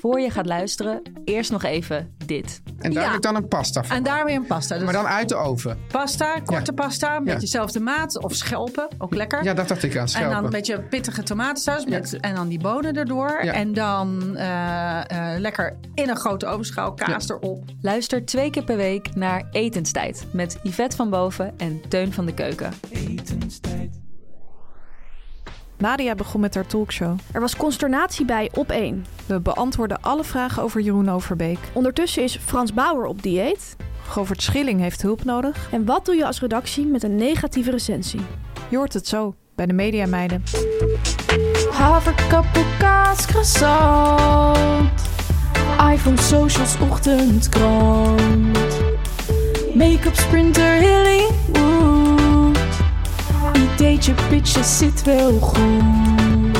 Voor je gaat luisteren, eerst nog even dit. En daar Ja. heb ik dan een pasta voor. En daar weer een pasta. Dus Maar dan uit de oven. pasta, korte Ja. pasta, met Ja. dezelfde maat. Of schelpen, ook lekker. Ja, dat dacht ik aan. En dan een Schelpen. beetje pittige tomatensaus met, en dan die bonen erdoor. Ja. En dan eh, eh, lekker in een grote ovenschaal kaas erop. Luister twee keer per week naar Etenstijd met Yvette van Boven en Teun van de Keuken. Nadia begon met haar talkshow. Er was consternatie bij op één. We beantwoorden alle vragen over Jeroen Overbeek. Ondertussen is Frans Bauer op dieet. Govert Schilling heeft hulp nodig. En wat doe je als redactie met een negatieve recensie? Je hoort het zo bij de Mediameiden. Haverkappel, kaas, croissant. iPhone, socials, ochtendkrant. Make-up, sprinter, Hollywood. Ideetje, pitje, zit wel goed.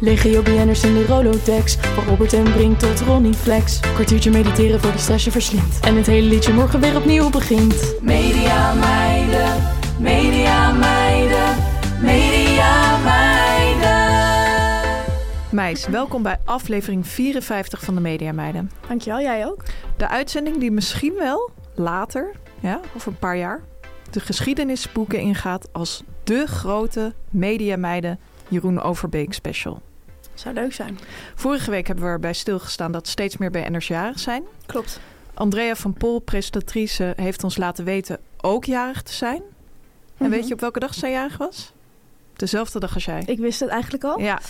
Legio BN'ers in de Rolodex. Van Robert en Brink tot Ronnie Flex. Kwartiertje mediteren voor de stress je verslindt. En het hele liedje morgen weer opnieuw begint. Media meiden, media meiden, media meiden. Meis, welkom bij aflevering 54 van de Mediameiden. Dankjewel, jij ook. De uitzending die misschien wel later, ja, over een paar jaar, de geschiedenisboeken ingaat als de grote Mediameiden Jeroen Overbeek special. Zou leuk zijn. Vorige week hebben we erbij stilgestaan dat steeds meer BN'ers jarig zijn. Klopt. Andrea van Pol, presentatrice, heeft ons laten weten ook jarig te zijn. Mhm. En weet je op welke dag zij jarig was? Dezelfde dag als jij. Ik wist het eigenlijk al. Ja,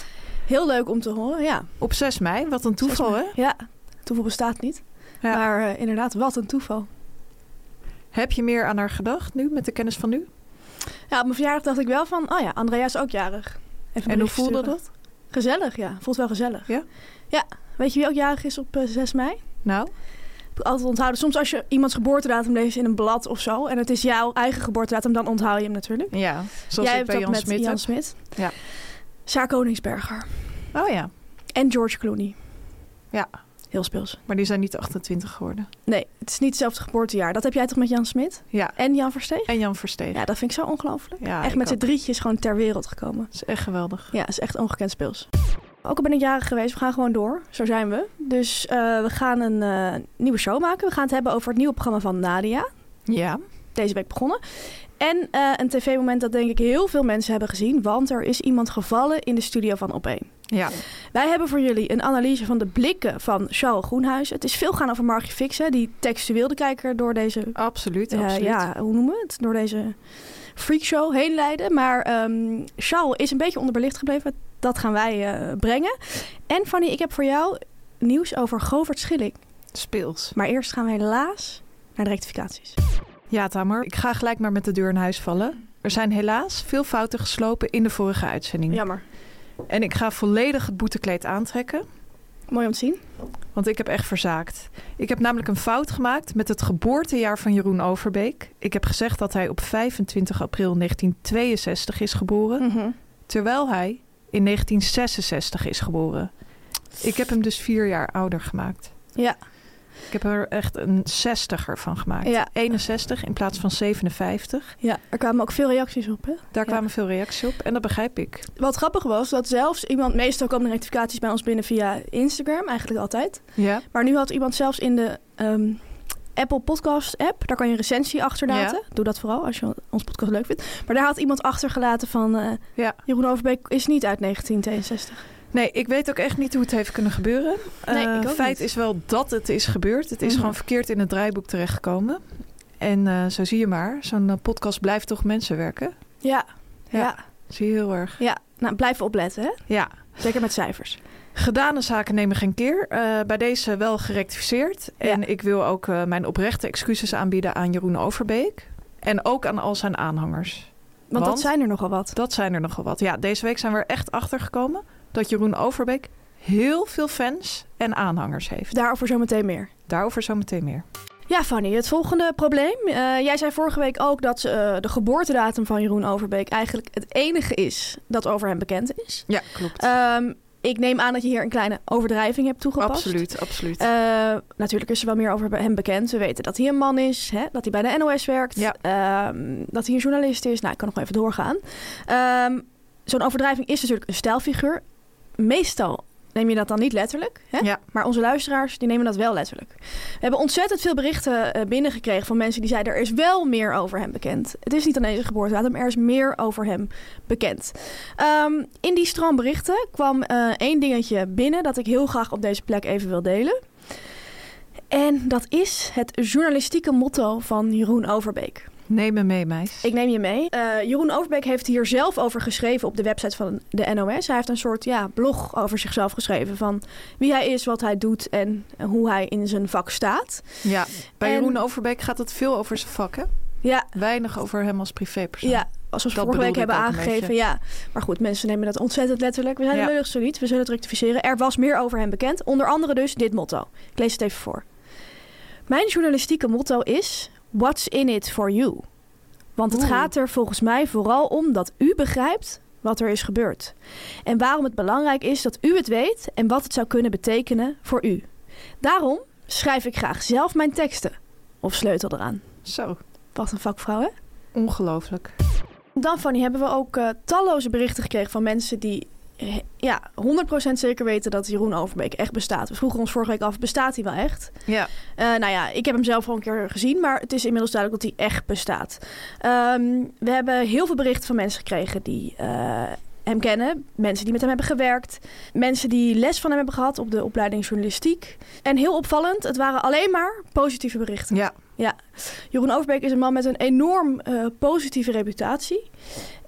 Heel leuk om te horen, ja. op 6 mei. Wat een toeval, hè? Ja, toeval bestaat niet. Ja. Maar eh, inderdaad, wat een toeval. Heb je meer aan haar gedacht nu, met de kennis van nu? Ja, op mijn verjaardag dacht ik wel van, oh ja, Andrea is ook jarig. Even een en hoe berichtje voelde sturen. dat? Gezellig, ja. Voelt wel gezellig. Ja? Ja. Weet je wie ook jarig is op eh, 6 mei? Nou, Heb ik altijd onthouden. Soms als je iemands geboortedatum leest in een blad of zo... en het is jouw eigen geboortedatum, dan onthoud je hem natuurlijk. ja. Zoals Jij ik hebt bij dat Jan met Smit. Jan heb. Smit. Ja. Saar Koningsberger. Oh ja, En George Clooney. Ja. Heel speels. maar die zijn niet 28 geworden. Nee, het is niet hetzelfde geboortejaar. Dat heb jij toch met Jan Smit? Ja, En Jan Versteeg? en Jan Versteeg. Ja, dat vind ik zo ongelooflijk. Ja, echt ik met z'n ook. drietjes gewoon ter wereld gekomen. Dat is echt geweldig. Ja, is echt ongekend speels. Ook al ben ik jarig geweest, we gaan gewoon door. Zo zijn we. Dus eh, we gaan een eh, nieuwe show maken. We gaan het hebben over het nieuwe programma van Nadia. Ja, deze week begonnen. En eh, een tv-moment dat denk ik heel veel mensen hebben gezien, want er is iemand gevallen in de studio van Opeen. ja. Wij hebben voor jullie een analyse van de blikken van Charles Groenhuis. Het is veel gaan over Margie Fixen, die textueel de kijker door deze, absoluut, eh, absoluut. ja, hoe noemen we het, door deze freakshow heen leiden. Maar ehm Charles is een beetje onderbelicht gebleven, dat gaan wij eh, brengen. En Fanny, ik heb voor jou nieuws over Govert Schilling. Speels. Maar eerst gaan we helaas naar de rectificaties. Ja, Tamer, ik ga gelijk maar met de deur in huis vallen. Er zijn helaas veel fouten geslopen in de vorige uitzending. Jammer. En ik ga volledig het boetekleed aantrekken, Mooi om te zien. want ik heb echt verzaakt. Ik heb namelijk een fout gemaakt met het geboortejaar van Jeroen Overbeek. Ik heb gezegd dat hij op 25 april 1962 is geboren, Mhm. terwijl hij in 1966 is geboren. Ik heb hem dus vier jaar ouder gemaakt. Ja. Ik heb er echt een 60er van gemaakt. Ja. 61 in plaats van 57. Ja, er kwamen ook veel reacties op. Hè? Daar Ja. kwamen veel reacties op en dat begrijp ik. Wat grappig was, dat zelfs iemand, meestal komen de rectificaties bij ons binnen via Instagram, eigenlijk altijd. Ja. Maar nu had iemand zelfs in de ehm, Apple Podcast app, daar kan je een recensie achterlaten. Doe dat vooral als je ons podcast leuk vindt. Maar daar had iemand achtergelaten van eh, Ja. Jeroen Overbeek is niet uit 1962. Nee, ik weet ook echt niet hoe het heeft kunnen gebeuren. Nee, Eh, ik ook feit niet. is wel dat het is gebeurd. Het is Mhm. gewoon verkeerd in het draaiboek terechtgekomen. En eh, zo zie je maar, zo'n eh, podcast blijft toch mensen werken. Ja. Ja. Ja. ja. Zie je heel erg. Nou, blijf opletten, hè? Ja, Zeker met cijfers. gedane zaken nemen geen keer. Eh, bij deze wel gerectificeerd. En ik wil ook eh, mijn oprechte excuses aanbieden aan Jeroen Overbeek. En ook aan al zijn aanhangers. Want? Want, dat zijn er nogal wat. Dat zijn er nogal wat. Ja, deze week zijn we er echt achter gekomen dat Jeroen Overbeek heel veel fans en aanhangers heeft. Daarover zometeen meer. Daarover zometeen meer. Ja, Fanny, het volgende probleem. Eh, jij zei vorige week ook dat eh, de geboortedatum van Jeroen Overbeek eigenlijk het enige is dat over hem bekend is. Ja, klopt. Ehm, ik neem aan dat je hier een kleine overdrijving hebt toegepast. Absoluut, absoluut. Eh, natuurlijk is er wel meer over hem bekend. We weten dat hij een man is, hè? dat hij bij de NOS werkt, Ja. ehm, dat hij een journalist is. Nou, ik kan nog wel even doorgaan. Ehm, Zo'n overdrijving is natuurlijk een stijlfiguur. Meestal neem je dat dan niet letterlijk, hè? Ja. maar onze luisteraars die nemen dat wel letterlijk. We hebben ontzettend veel berichten eh, binnengekregen van mensen die zeiden er is wel meer over hem bekend. Het is niet alleen zijn geboortedatum, er is meer over hem bekend. Ehm, in die stroom berichten kwam eh, één dingetje binnen dat ik heel graag op deze plek even wil delen. En dat is het journalistieke motto van Jeroen Overbeek. Neem me mee, meis. Ik neem je mee. Eh, Jeroen Overbeek heeft hier zelf over geschreven op de website van de NOS. Hij heeft een soort ja, blog over zichzelf geschreven van wie hij is, wat hij doet en hoe hij in zijn vak staat. ja. Bij En- Jeroen Overbeek gaat het veel over zijn vak, hè? Ja, Weinig over hem als privépersoon. ja zoals we Dat vorige bedoelde week ik hebben ook een aangegeven. beetje. Ja. Maar goed, mensen nemen dat ontzettend letterlijk. We zijn Ja. er lullig zo niet, we zullen het rectificeren. Er was meer over hem bekend, onder andere dus dit motto. Ik lees het even voor. Mijn journalistieke motto is... What's in it for you? Want het Oeh. gaat er volgens mij vooral om dat u begrijpt wat er is gebeurd. En waarom het belangrijk is dat u het weet en wat het zou kunnen betekenen voor u. Daarom schrijf ik graag zelf mijn teksten. Of sleutel eraan. Zo, Wat een vakvrouw, hè? ongelooflijk. Dan, Fanny, hebben we ook eh, talloze berichten gekregen van mensen die eh, ja, 100% zeker weten dat Jeroen Overbeek echt bestaat. We vroegen ons vorige week af, bestaat hij wel echt? Ja. Eh, nou ja, ik heb hem zelf al een keer gezien, maar het is inmiddels duidelijk dat hij echt bestaat. Ehm, we hebben heel veel berichten van mensen gekregen die eh, hem kennen. Mensen die met hem hebben gewerkt. Mensen die les van hem hebben gehad op de opleiding journalistiek. En heel opvallend, het waren alleen maar positieve berichten. Ja. Jeroen Overbeek is een man met een enorm eh, positieve reputatie.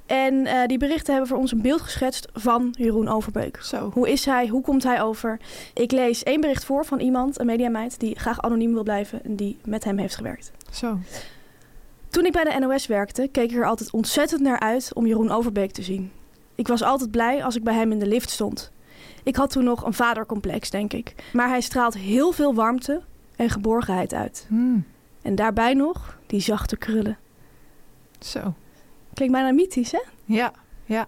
En eh, die berichten hebben voor ons een beeld geschetst van Jeroen Overbeek. Zo. Hoe is hij? Hoe komt hij over? Ik lees één bericht voor van iemand, een mediameid, die graag anoniem wil blijven en die met hem heeft gewerkt. Zo. Toen ik bij de NOS werkte, keek ik er altijd ontzettend naar uit om Jeroen Overbeek te zien. Ik was altijd blij als ik bij hem in de lift stond. Ik had toen nog een vadercomplex, denk ik. Maar hij straalt heel veel warmte en geborgenheid uit. Hmm. En daarbij nog die zachte krullen. Zo. Klinkt bijna mythisch, hè? Ja, ja.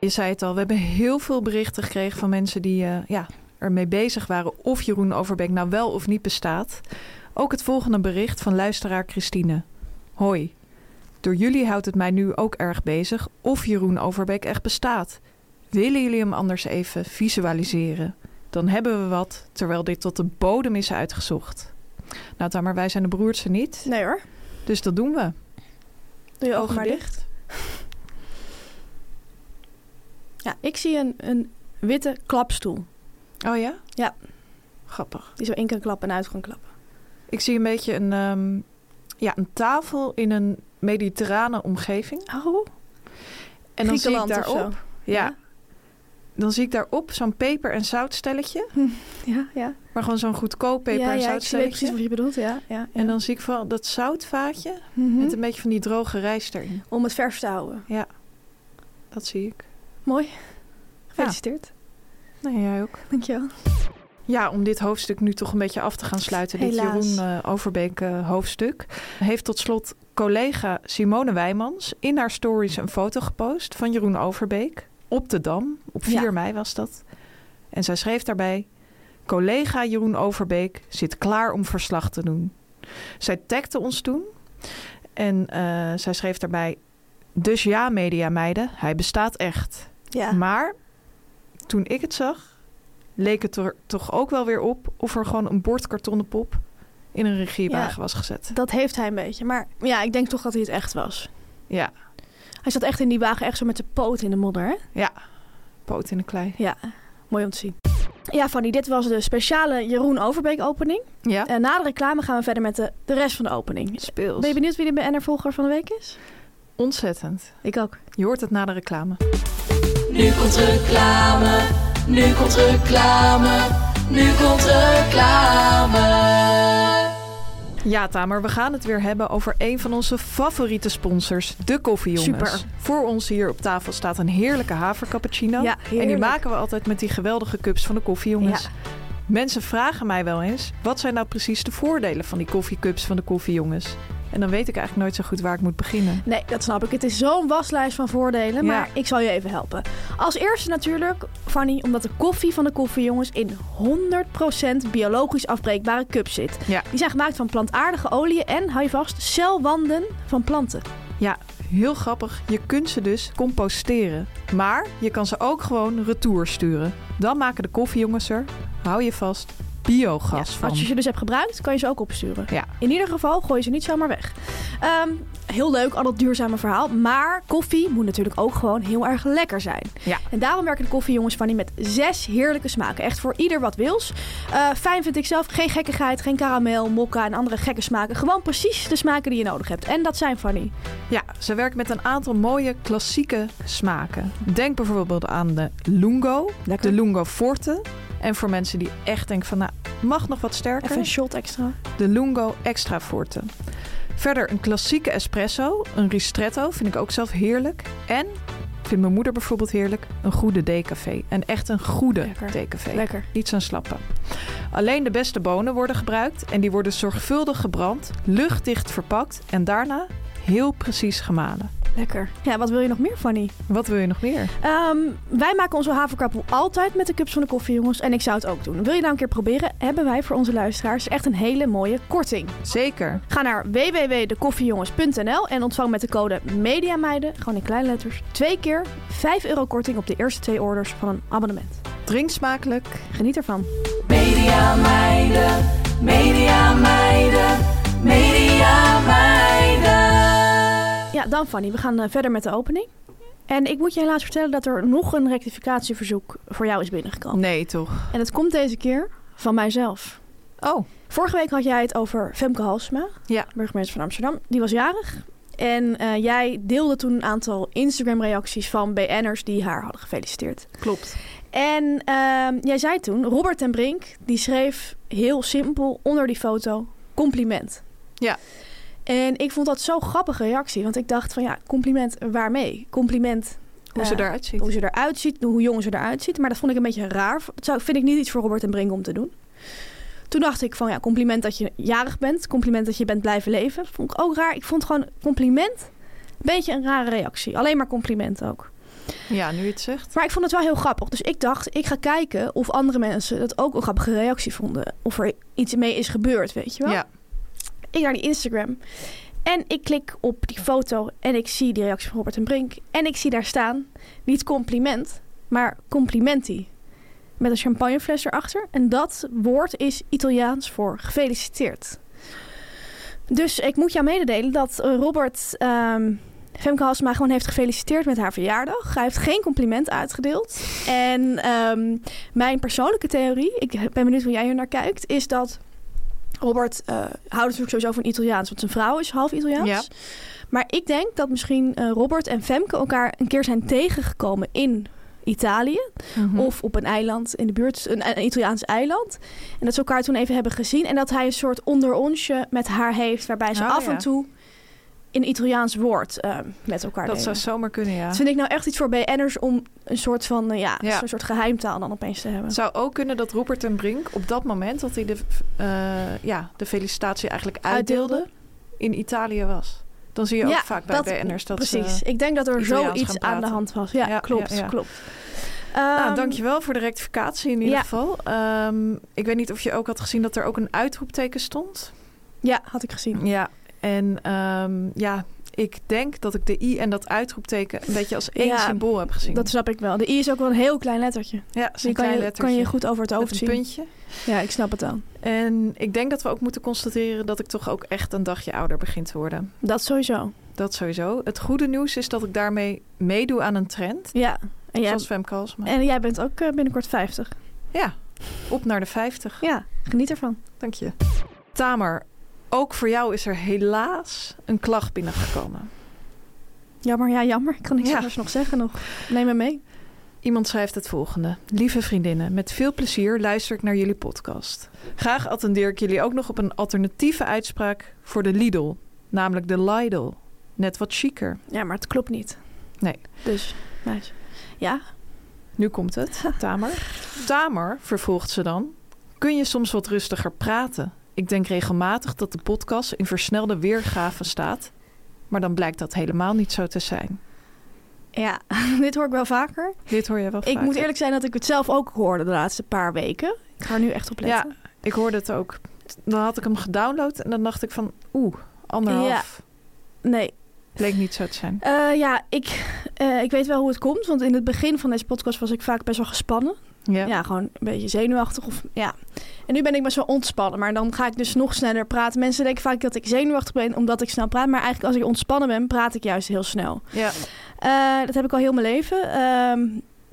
Je zei het al, we hebben heel veel berichten gekregen van mensen die eh, ja, ermee bezig waren of Jeroen Overbeek nou wel of niet bestaat. Ook het volgende bericht van luisteraar Christine. Hoi. Door jullie houdt het mij nu ook erg bezig of Jeroen Overbeek echt bestaat. Willen jullie hem anders even visualiseren? Dan hebben we wat, terwijl dit tot de bodem is uitgezocht. Nou, Tamer, wij zijn de broertse niet, Nee hoor. dus dat doen we. Doe je ogen maar dicht. Ja, ik zie een, een witte klapstoel. Oh ja? Ja. Grappig. Die zo in kan klappen en uit kan klappen. Ik zie een beetje een, ehm, ja, een tafel in een mediterrane omgeving. Oh, En dan zie ik Griekenland of daarop. Ja. Ja. Dan zie ik daarop zo'n peper- en zoutstelletje. Ja, ja. Maar gewoon zo'n goedkoop peper- ja, en ja, ik zie- weet zoutstelletje. precies wat je bedoelt. Ja, ja, ja. En dan zie ik vooral dat zoutvaatje Mhm. met een beetje van die droge rijst erin. Om het vers te houden. Dat zie ik. Mooi. Gefeliciteerd. Nou, jij ook. Dankjewel. Ja, om dit hoofdstuk nu toch een beetje af te gaan sluiten. Dit Helaas. Jeroen eh, Overbeek eh, hoofdstuk. Heeft tot slot collega Simone Wijmans in haar stories een foto gepost van Jeroen Overbeek op de Dam. Op 4 Ja. mei was dat. En zij schreef daarbij... Collega Jeroen Overbeek zit klaar om verslag te doen. Zij tagde ons toen. En eh, zij schreef daarbij... Dus ja, media meiden, hij bestaat echt. Ja. Maar toen ik het zag, leek het er toch ook wel weer op of er gewoon een bord kartonnen pop in een regiewagen was gezet. Dat heeft hij een beetje. Maar ja, ik denk toch dat hij het echt was. Ja, Hij zat echt in die wagen, echt zo met zijn poot in de modder. Hè? ja. Poot in de klei. Ja. Mooi om te zien. Ja, Fanny, dit was de speciale Jeroen Overbeek opening. Ja, En na de reclame gaan we verder met de, de rest van de opening. speels. Ben je benieuwd wie de BNR-volger van de week is? Ontzettend. Ik ook. Je hoort het na de reclame. Nu komt reclame, nu komt reclame, nu komt reclame. Ja, Tamer, we gaan het weer hebben over een van onze favoriete sponsors, de koffiejongens. Super. Voor ons hier op tafel staat een heerlijke havercappuccino. Ja, en die heerlijk. maken we altijd met die geweldige cups van de koffiejongens. Ja. Mensen vragen mij wel eens, wat zijn nou precies de voordelen van die koffiecups van de koffiejongens? En dan weet ik eigenlijk nooit zo goed waar ik moet beginnen. Nee, dat snap ik. Het is zo'n waslijst van voordelen, Ja. maar ik zal je even helpen. Als eerste natuurlijk, Fanny, omdat de koffie van de koffiejongens in 100% biologisch afbreekbare cups zit. Ja. Die zijn gemaakt van plantaardige oliën en, hou je vast, celwanden van planten. Ja, heel grappig. Je kunt ze dus composteren. Maar je kan ze ook gewoon retour sturen. Dan maken de koffiejongens er, hou je vast, biogas van. Als je ze dus hebt gebruikt, kan je ze ook opsturen. Ja. In ieder geval gooi je ze niet zomaar weg. Ehm, heel leuk, al dat duurzame verhaal. Maar koffie moet natuurlijk ook gewoon heel erg lekker zijn. Ja. En daarom werken de koffiejongens van die met zes heerlijke smaken. Echt voor ieder wat wils. Eh, fijn vind ik zelf. Geen gekkigheid, geen karamel, mokka en andere gekke smaken. Gewoon precies de smaken die je nodig hebt. En dat zijn Fanny. Ja, ze werkt met een aantal mooie klassieke smaken. Denk bijvoorbeeld aan de lungo, Lekker. de lungo forte. En voor mensen die echt denken van, nou, mag nog wat sterker. Even een shot extra. de Lungo Extra Forte. Verder een klassieke espresso, een ristretto, vind ik ook zelf heerlijk. En, vindt mijn moeder bijvoorbeeld heerlijk, een goede decafé. En echt een goede Lekker. decafé. Lekker. Niet zo'n slappe. Alleen de beste bonen worden gebruikt en die worden zorgvuldig gebrand, luchtdicht verpakt en daarna heel precies gemalen. Lekker. Ja, wat wil je nog meer, Fanny? Wat wil je nog meer? Ehm, wij maken onze haverkappel altijd met de cups van de koffie, jongens. En ik zou het ook doen. Wil je nou een keer proberen? Hebben wij voor onze luisteraars echt een hele mooie korting. Zeker. Ga naar www.dekoffiejongens.nl en ontvang met de code MEDIAMEIDEN, gewoon in kleinletters, twee keer 5 euro korting op de eerste twee orders van een abonnement. Drink smakelijk. Geniet ervan. Media meiden, media meiden, media meiden. Ja, dan Fanny, we gaan eh, verder met de opening. En ik moet je helaas vertellen dat er nog een rectificatieverzoek voor jou is binnengekomen. Nee, toch? En dat komt deze keer van mijzelf. Oh, Vorige week had jij het over Femke Halsma, Ja. burgemeester van Amsterdam. Die was jarig. En eh, jij deelde toen een aantal Instagram-reacties van BN'ers die haar hadden gefeliciteerd. klopt. En ehm, jij zei toen, Robert ten Brink, die schreef heel simpel onder die foto compliment. Ja. En ik vond dat zo'n grappige reactie, want ik dacht van ja, compliment waarmee? Compliment Hoe ze Eh, eruit ziet. hoe ze eruit ziet, hoe jong ze eruit ziet. Maar dat vond ik een beetje raar. Dat zou, vind ik niet iets voor Robert en Brink om te doen. Toen dacht ik van ja, compliment dat je jarig bent. Compliment dat je bent blijven leven. Vond ik ook raar. Ik vond gewoon compliment een beetje een rare reactie. Alleen maar compliment ook. Ja, nu je het zegt. Maar ik vond het wel heel grappig. Dus ik dacht, ik ga kijken of andere mensen dat ook een grappige reactie vonden. Of er iets mee is gebeurd, weet je wel Ja. ik naar die Instagram. En ik klik op die foto en ik zie die reactie van Robert en Brink. En ik zie daar staan, niet compliment, maar complimenti. Met een champagnefles erachter. En dat woord is Italiaans voor gefeliciteerd. Dus ik moet jou mededelen dat eh, Robert ehm, Femke Halsema gewoon heeft gefeliciteerd met haar verjaardag. Hij heeft geen compliment uitgedeeld. En ehm, mijn persoonlijke theorie, ik ben benieuwd hoe jij hier naar kijkt, is dat Robert eh, houdt natuurlijk sowieso van Italiaans, want zijn vrouw is half Italiaans. Ja. Maar ik denk dat misschien eh, Robert en Femke elkaar een keer zijn tegengekomen in Italië. Mhm. Of op een eiland in de buurt, een, een Italiaans eiland. En dat ze elkaar toen even hebben gezien. En dat hij een soort onderonsje met haar heeft, waarbij ze Oh, af ja. en toe een Italiaans woord eh, met elkaar dat delen. zou zomaar kunnen, ja. Dat vind ik nou echt iets voor BN'ers om een soort van, eh, ja, Ja. zo'n soort geheimtaal dan opeens te hebben. Het zou ook kunnen dat Robert en Brink op dat moment dat hij de, eh, ja, de felicitatie eigenlijk uitdeelde, in Italië was. Dan zie je ook Ja, vaak bij dat- BN'ers dat eh, Precies. ze... ik denk dat er Italiaans zoiets gaan aan de praten. hand was. Ja, Ja, klopt. ja, ja. klopt. Nou, Ehm, dankjewel voor de rectificatie in ieder ja. geval. Ehm, ik weet niet of je ook had gezien dat er ook een uitroepteken stond. Ja, had ik gezien. Ja. En ehm, ja, ik denk dat ik de i en dat uitroepteken een beetje als één Ja, symbool heb gezien. Dat snap ik wel. De i is ook wel een heel klein lettertje. ja, is Die een kan klein je, lettertje kan je goed over het met hoofd een zien. puntje. Ja, ik snap het dan. En ik denk dat we ook moeten constateren dat ik toch ook echt een dagje ouder begin te worden. Dat sowieso. Dat sowieso. Het goede nieuws is dat ik daarmee meedoe aan een trend. Ja. En jij, Zoals Femke Halsema. en jij bent ook eh, binnenkort 50. Ja, op naar de 50. Ja, geniet ervan. Dank je. Tamer, ook voor jou is er helaas een klacht binnengekomen. Jammer, ja, jammer. Ik kan niks Ja. anders nog zeggen. Nog. Neem me mee. Iemand schrijft het volgende. Lieve vriendinnen, met veel plezier luister ik naar jullie podcast. Graag attendeer ik jullie ook nog op een alternatieve uitspraak voor de Lidl, namelijk de Lidl. Net wat chiquer. Ja, maar het klopt niet. Nee. Dus, meis. Ja, Nu komt het, Tamer. Tamer, vervolgt ze dan, kun je soms wat rustiger praten? Ik denk regelmatig dat de podcast in versnelde weergave staat, maar dan blijkt dat helemaal niet zo te zijn. ja. dit hoor ik wel vaker. Dit hoor je wel Ik moet vaker. eerlijk zijn dat ik het zelf ook hoorde de laatste paar weken. Ik ga er nu echt op Ja, letten. ik hoorde het ook. Dan had ik hem gedownload en dan dacht ik van, oeh, anderhalf. Nee, Bleek niet zo te zijn. Eh, ja, ik, eh, ik weet wel hoe het komt. Want in het begin van deze podcast was ik vaak best wel gespannen. Ja. Ja, gewoon een beetje zenuwachtig. Of, ja. En nu ben ik best wel ontspannen. Maar dan ga ik dus nog sneller praten. Mensen denken vaak dat ik zenuwachtig ben omdat ik snel praat. Maar eigenlijk als ik ontspannen ben, praat ik juist heel snel. Ja. Eh, dat heb ik al heel mijn leven. Ehm,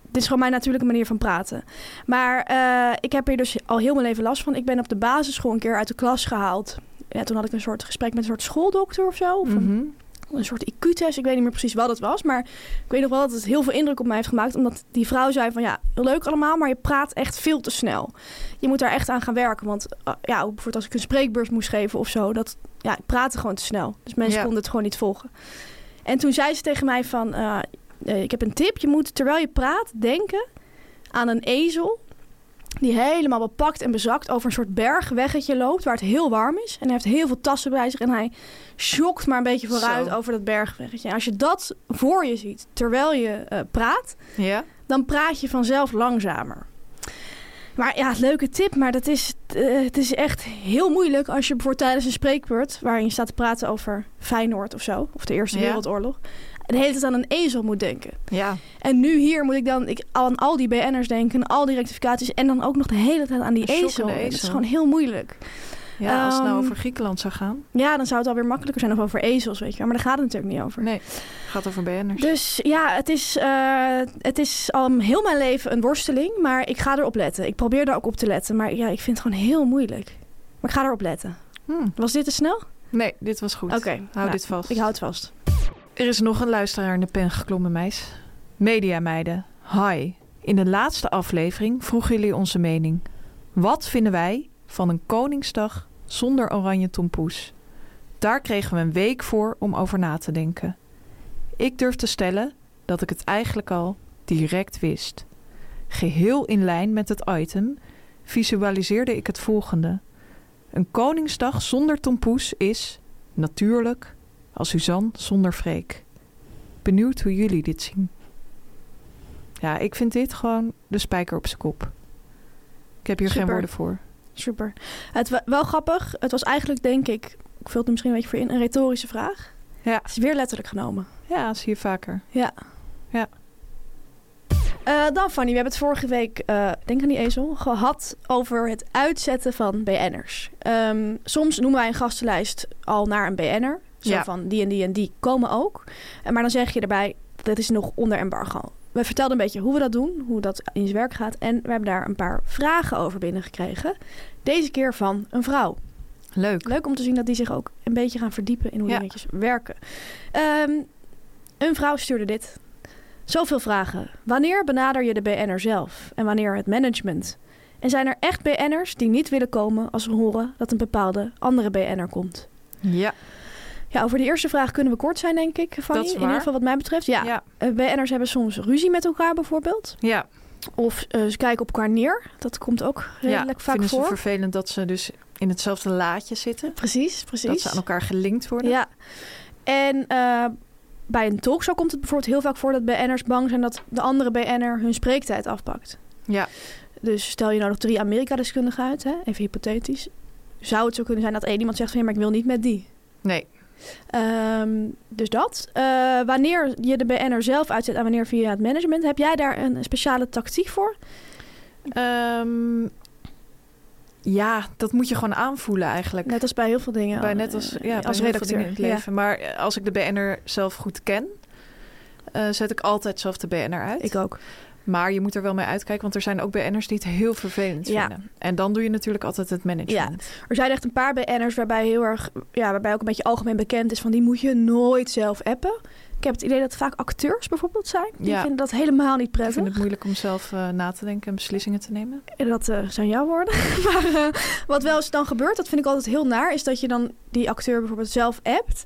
dit is gewoon mijn natuurlijke manier van praten. Maar eh, ik heb hier dus al heel mijn leven last van. Ik ben op de basisschool een keer uit de klas gehaald. Ja, toen had ik een soort gesprek met een soort schooldokter of zo. Of een Mhm. een soort IQ-test. Ik weet niet meer precies wat het was. Maar ik weet nog wel dat het heel veel indruk op mij heeft gemaakt. Omdat die vrouw zei van ja, heel leuk allemaal, maar je praat echt veel te snel. Je moet daar echt aan gaan werken. Want eh, ja, ook bijvoorbeeld als ik een spreekbeurs moest geven of zo. Dat, ja, ik praatte gewoon te snel. Dus mensen Ja. konden het gewoon niet volgen. En toen zei ze tegen mij van eh, eh, ik heb een tip. Je moet terwijl je praat denken aan een ezel. Die helemaal bepakt en bezakt over een soort bergweggetje loopt. Waar het heel warm is. En hij heeft heel veel tassen bij zich. En hij schokt maar een beetje vooruit Zo. over dat bergweggetje. En als je dat voor je ziet terwijl je eh, praat. Ja. Dan praat je vanzelf langzamer. Maar ja, leuke tip. Maar dat is, eh, het is echt heel moeilijk als je bijvoorbeeld tijdens een spreekbeurt. waarin je staat te praten over Feyenoord of zo. of de Eerste Ja. Wereldoorlog. de hele tijd aan een ezel moet denken. Ja. En nu hier moet ik dan ik, aan al die BN'ers denken, aan al die rectificaties en dan ook nog de hele tijd aan die Een shock aan ezel. de Dat is ezel. gewoon heel moeilijk. ja, als het nou Ehm, over Griekenland zou gaan. Ja, dan zou het alweer makkelijker zijn of over ezels, weet je wel. Maar daar gaat het natuurlijk niet over. Nee, gaat over BN'ers. Dus ja, het is, eh, het is al heel mijn leven een worsteling, maar ik ga erop letten. Ik probeer daar ook op te letten, maar ja, ik vind het gewoon heel moeilijk. Maar ik ga erop letten. Hm. Was dit te snel? Oké, Nee, dit was goed. Hou nou, dit vast. Ik hou het vast. Er is nog een luisteraar in de pen geklommen, meis. Mediameiden, hi. In de laatste aflevering vroegen jullie onze mening. Wat vinden wij van een Koningsdag zonder oranje tompoes? Daar kregen we een week voor om over na te denken. Ik durf te stellen dat ik het eigenlijk al direct wist. Geheel in lijn met het item visualiseerde ik het volgende. Een Koningsdag zonder tompoes is, natuurlijk, als Suzanne zonder Freek. Benieuwd hoe jullie dit zien. Ja, ik vind dit gewoon de spijker op zijn kop. Ik heb hier geen Super. woorden voor. Super. Het was wel grappig. Het was eigenlijk, denk ik, ik vul het er misschien een beetje voor in, een retorische vraag. Ja. Het is weer letterlijk genomen. Ja, zie je vaker. Eh, dan Fanny, we hebben het vorige week, eh, denk aan die ezel, gehad over het uitzetten van BN'ers. Ehm, soms noemen wij een gastenlijst al naar een BN'er. Zo Ja. van die en die en die komen ook. Eh, Maar dan zeg je erbij, dat is nog onder embargo. We vertelden een beetje hoe we dat doen, hoe dat in zijn werk gaat. En we hebben daar een paar vragen over binnengekregen. Deze keer van een vrouw. Leuk. Leuk om te zien dat die zich ook een beetje gaan verdiepen in hoe Ja. dingetjes werken. Ehm, een vrouw stuurde dit. Zoveel vragen. Wanneer benader je de BN'er zelf en wanneer het management? En zijn er echt BN'ers die niet willen komen als ze horen dat een bepaalde andere BN'er komt? Ja, Ja, over de eerste vraag kunnen we kort zijn, denk ik, Fanny. Dat is In waar. ieder geval wat mij betreft. Ja, ja, Eh, BN'ers hebben soms ruzie met elkaar bijvoorbeeld. ja. Of eh, ze kijken op elkaar neer. Dat komt ook redelijk vaak Vinden voor. ze vervelend dat ze dus in hetzelfde laadje zitten? Precies, precies. Dat ze aan elkaar gelinkt worden? Ja. En eh, bij een talkshow komt het bijvoorbeeld heel vaak voor dat BN'ers bang zijn dat de andere BN'er hun spreektijd afpakt. Ja. Dus stel je nou nog drie Amerika-deskundigen uit, hè? even hypothetisch. Zou het zo kunnen zijn dat één iemand zegt van ja, maar ik wil niet met die. Nee. Ehm, dus dat. Eh, wanneer je de BN'er zelf uitzet en wanneer via het management, heb jij daar een speciale tactiek voor? Ehm, ja, dat moet je gewoon aanvoelen eigenlijk. Net als bij heel veel dingen. bij net als, eh, ja, bij heel veel dingen in het Ja. leven. Maar eh, als ik de BN'er zelf goed ken, eh, zet ik altijd zelf de BN'er uit. Ik ook. Maar je moet er wel mee uitkijken, want er zijn ook BN'ers die het heel vervelend Ja. vinden. En dan doe je natuurlijk altijd het management. Er zijn echt een paar BN'ers waarbij heel erg, ja, waarbij ook een beetje algemeen bekend is van die moet je nooit zelf appen. Ik heb het idee dat het vaak acteurs bijvoorbeeld zijn. Die Ja. vinden dat helemaal niet Ik prettig. vind het moeilijk om zelf eh, na te denken en beslissingen te nemen. En dat eh, zijn jouw woorden. maar eh, wat wel eens dan gebeurt, dat vind ik altijd heel naar, is dat je dan die acteur bijvoorbeeld zelf appt.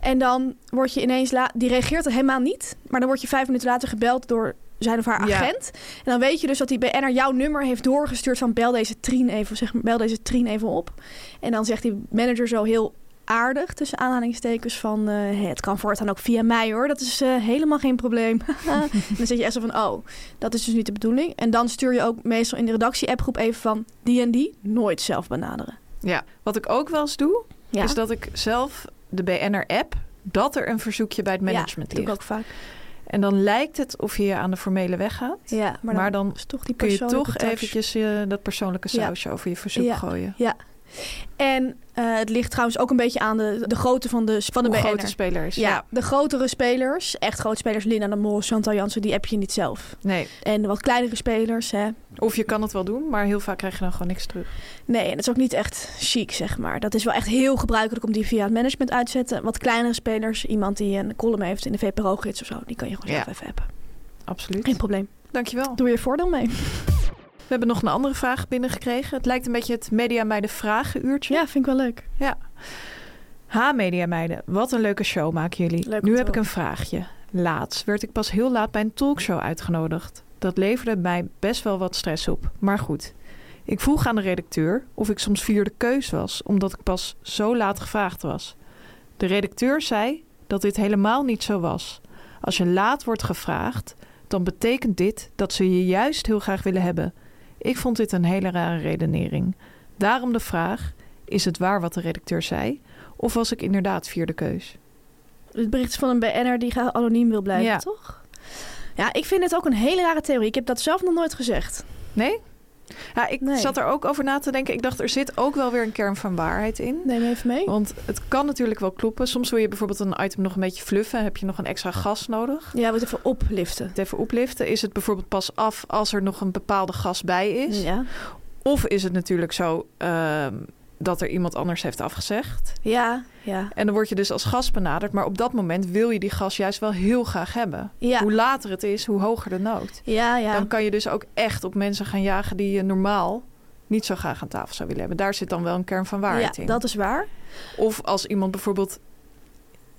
En dan word je ineens, la- die reageert er helemaal niet. Maar dan word je vijf minuten later gebeld door zijn of haar Ja. agent. En dan weet je dus dat die BN'er jouw nummer heeft doorgestuurd van bel deze Trien even, zeg maar, bel deze Trien even op. En dan zegt die manager zo heel aardig, tussen aanhalingstekens, van eh, het kan voortaan ook via mij hoor. Dat is eh, helemaal geen probleem. en dan zit je echt zo van, oh, dat is dus niet de bedoeling. En dan stuur je ook meestal in de redactie-appgroep even van die en die nooit zelf benaderen. Ja. Wat ik ook wel eens doe, Ja, is Dus dat ik zelf de BN'er-app, dat er een verzoekje bij het management dat doe ik ligt. ook vaak. En dan lijkt het of je aan de formele weg gaat. Ja, maar dan, Maar dan is toch die Kun je persoonlijke toch touch. eventjes eh, dat persoonlijke Ja. sausje over je verzoek Ja. gooien. Ja. En eh, het ligt trouwens ook een beetje aan de, de grootte van de, van de Hoe BN'er. groot de speler is. ja, de grotere spelers, echt grote spelers, Linda de Mol, Chantal Jansen, die app je niet zelf. Nee. En de wat kleinere spelers, hè, Of je kan het wel doen, maar heel vaak krijg je dan gewoon niks terug. Nee, en dat is ook niet echt chic, zeg maar. Dat is wel echt heel gebruikelijk om die via het management uit te zetten. Wat kleinere spelers, iemand die een column heeft in de VPRO-gids of zo, die kan je gewoon Ja. zelf even appen. Absoluut. Geen probleem. Dankjewel. Doe je voordeel mee. We hebben nog een andere vraag binnengekregen. Het lijkt een beetje het Media Meiden vragenuurtje. Ja, vind ik wel leuk. Ha Media Meiden, wat een leuke show maken jullie. Leuk om nu te heb ik horen. een vraagje. Laatst werd ik pas heel laat bij een talkshow uitgenodigd. Dat leverde mij best wel wat stress op. Maar goed. Ik vroeg aan de redacteur of ik soms vierde keus was, omdat ik pas zo laat gevraagd was. De redacteur zei dat dit helemaal niet zo was. Als je laat wordt gevraagd, dan betekent dit dat ze je juist heel graag willen hebben. Ik vond dit een hele rare redenering. Daarom de vraag: is het waar wat de redacteur zei? Of was ik inderdaad vierde keus? Het bericht is van een BN'er die graag anoniem wil blijven, Ja. toch? Ja, ik vind het ook een hele rare theorie. Ik heb dat zelf nog nooit gezegd. Nee? Ja, ik Nee. zat er ook over na te denken. Ik dacht, er zit ook wel weer een kern van waarheid in. Neem even mee. Want het kan natuurlijk wel kloppen. Soms wil je bijvoorbeeld een item nog een beetje fluffen. Heb je nog een extra gas nodig? Ja, we het even opliften. Het even opliften. Is het bijvoorbeeld pas af als er nog een bepaalde gas bij is? Ja. Of is het natuurlijk zo ehm, dat er iemand anders heeft afgezegd? Ja, ja. En dan word je dus als gast benaderd. Maar op dat moment wil je die gas juist wel heel graag hebben. Ja, Hoe later het is, hoe hoger de nood. ja, ja. Dan kan je dus ook echt op mensen gaan jagen die je normaal niet zo graag aan tafel zou willen hebben. Daar zit dan wel een kern van waarheid ja in. dat is waar. Oh, Of als iemand bijvoorbeeld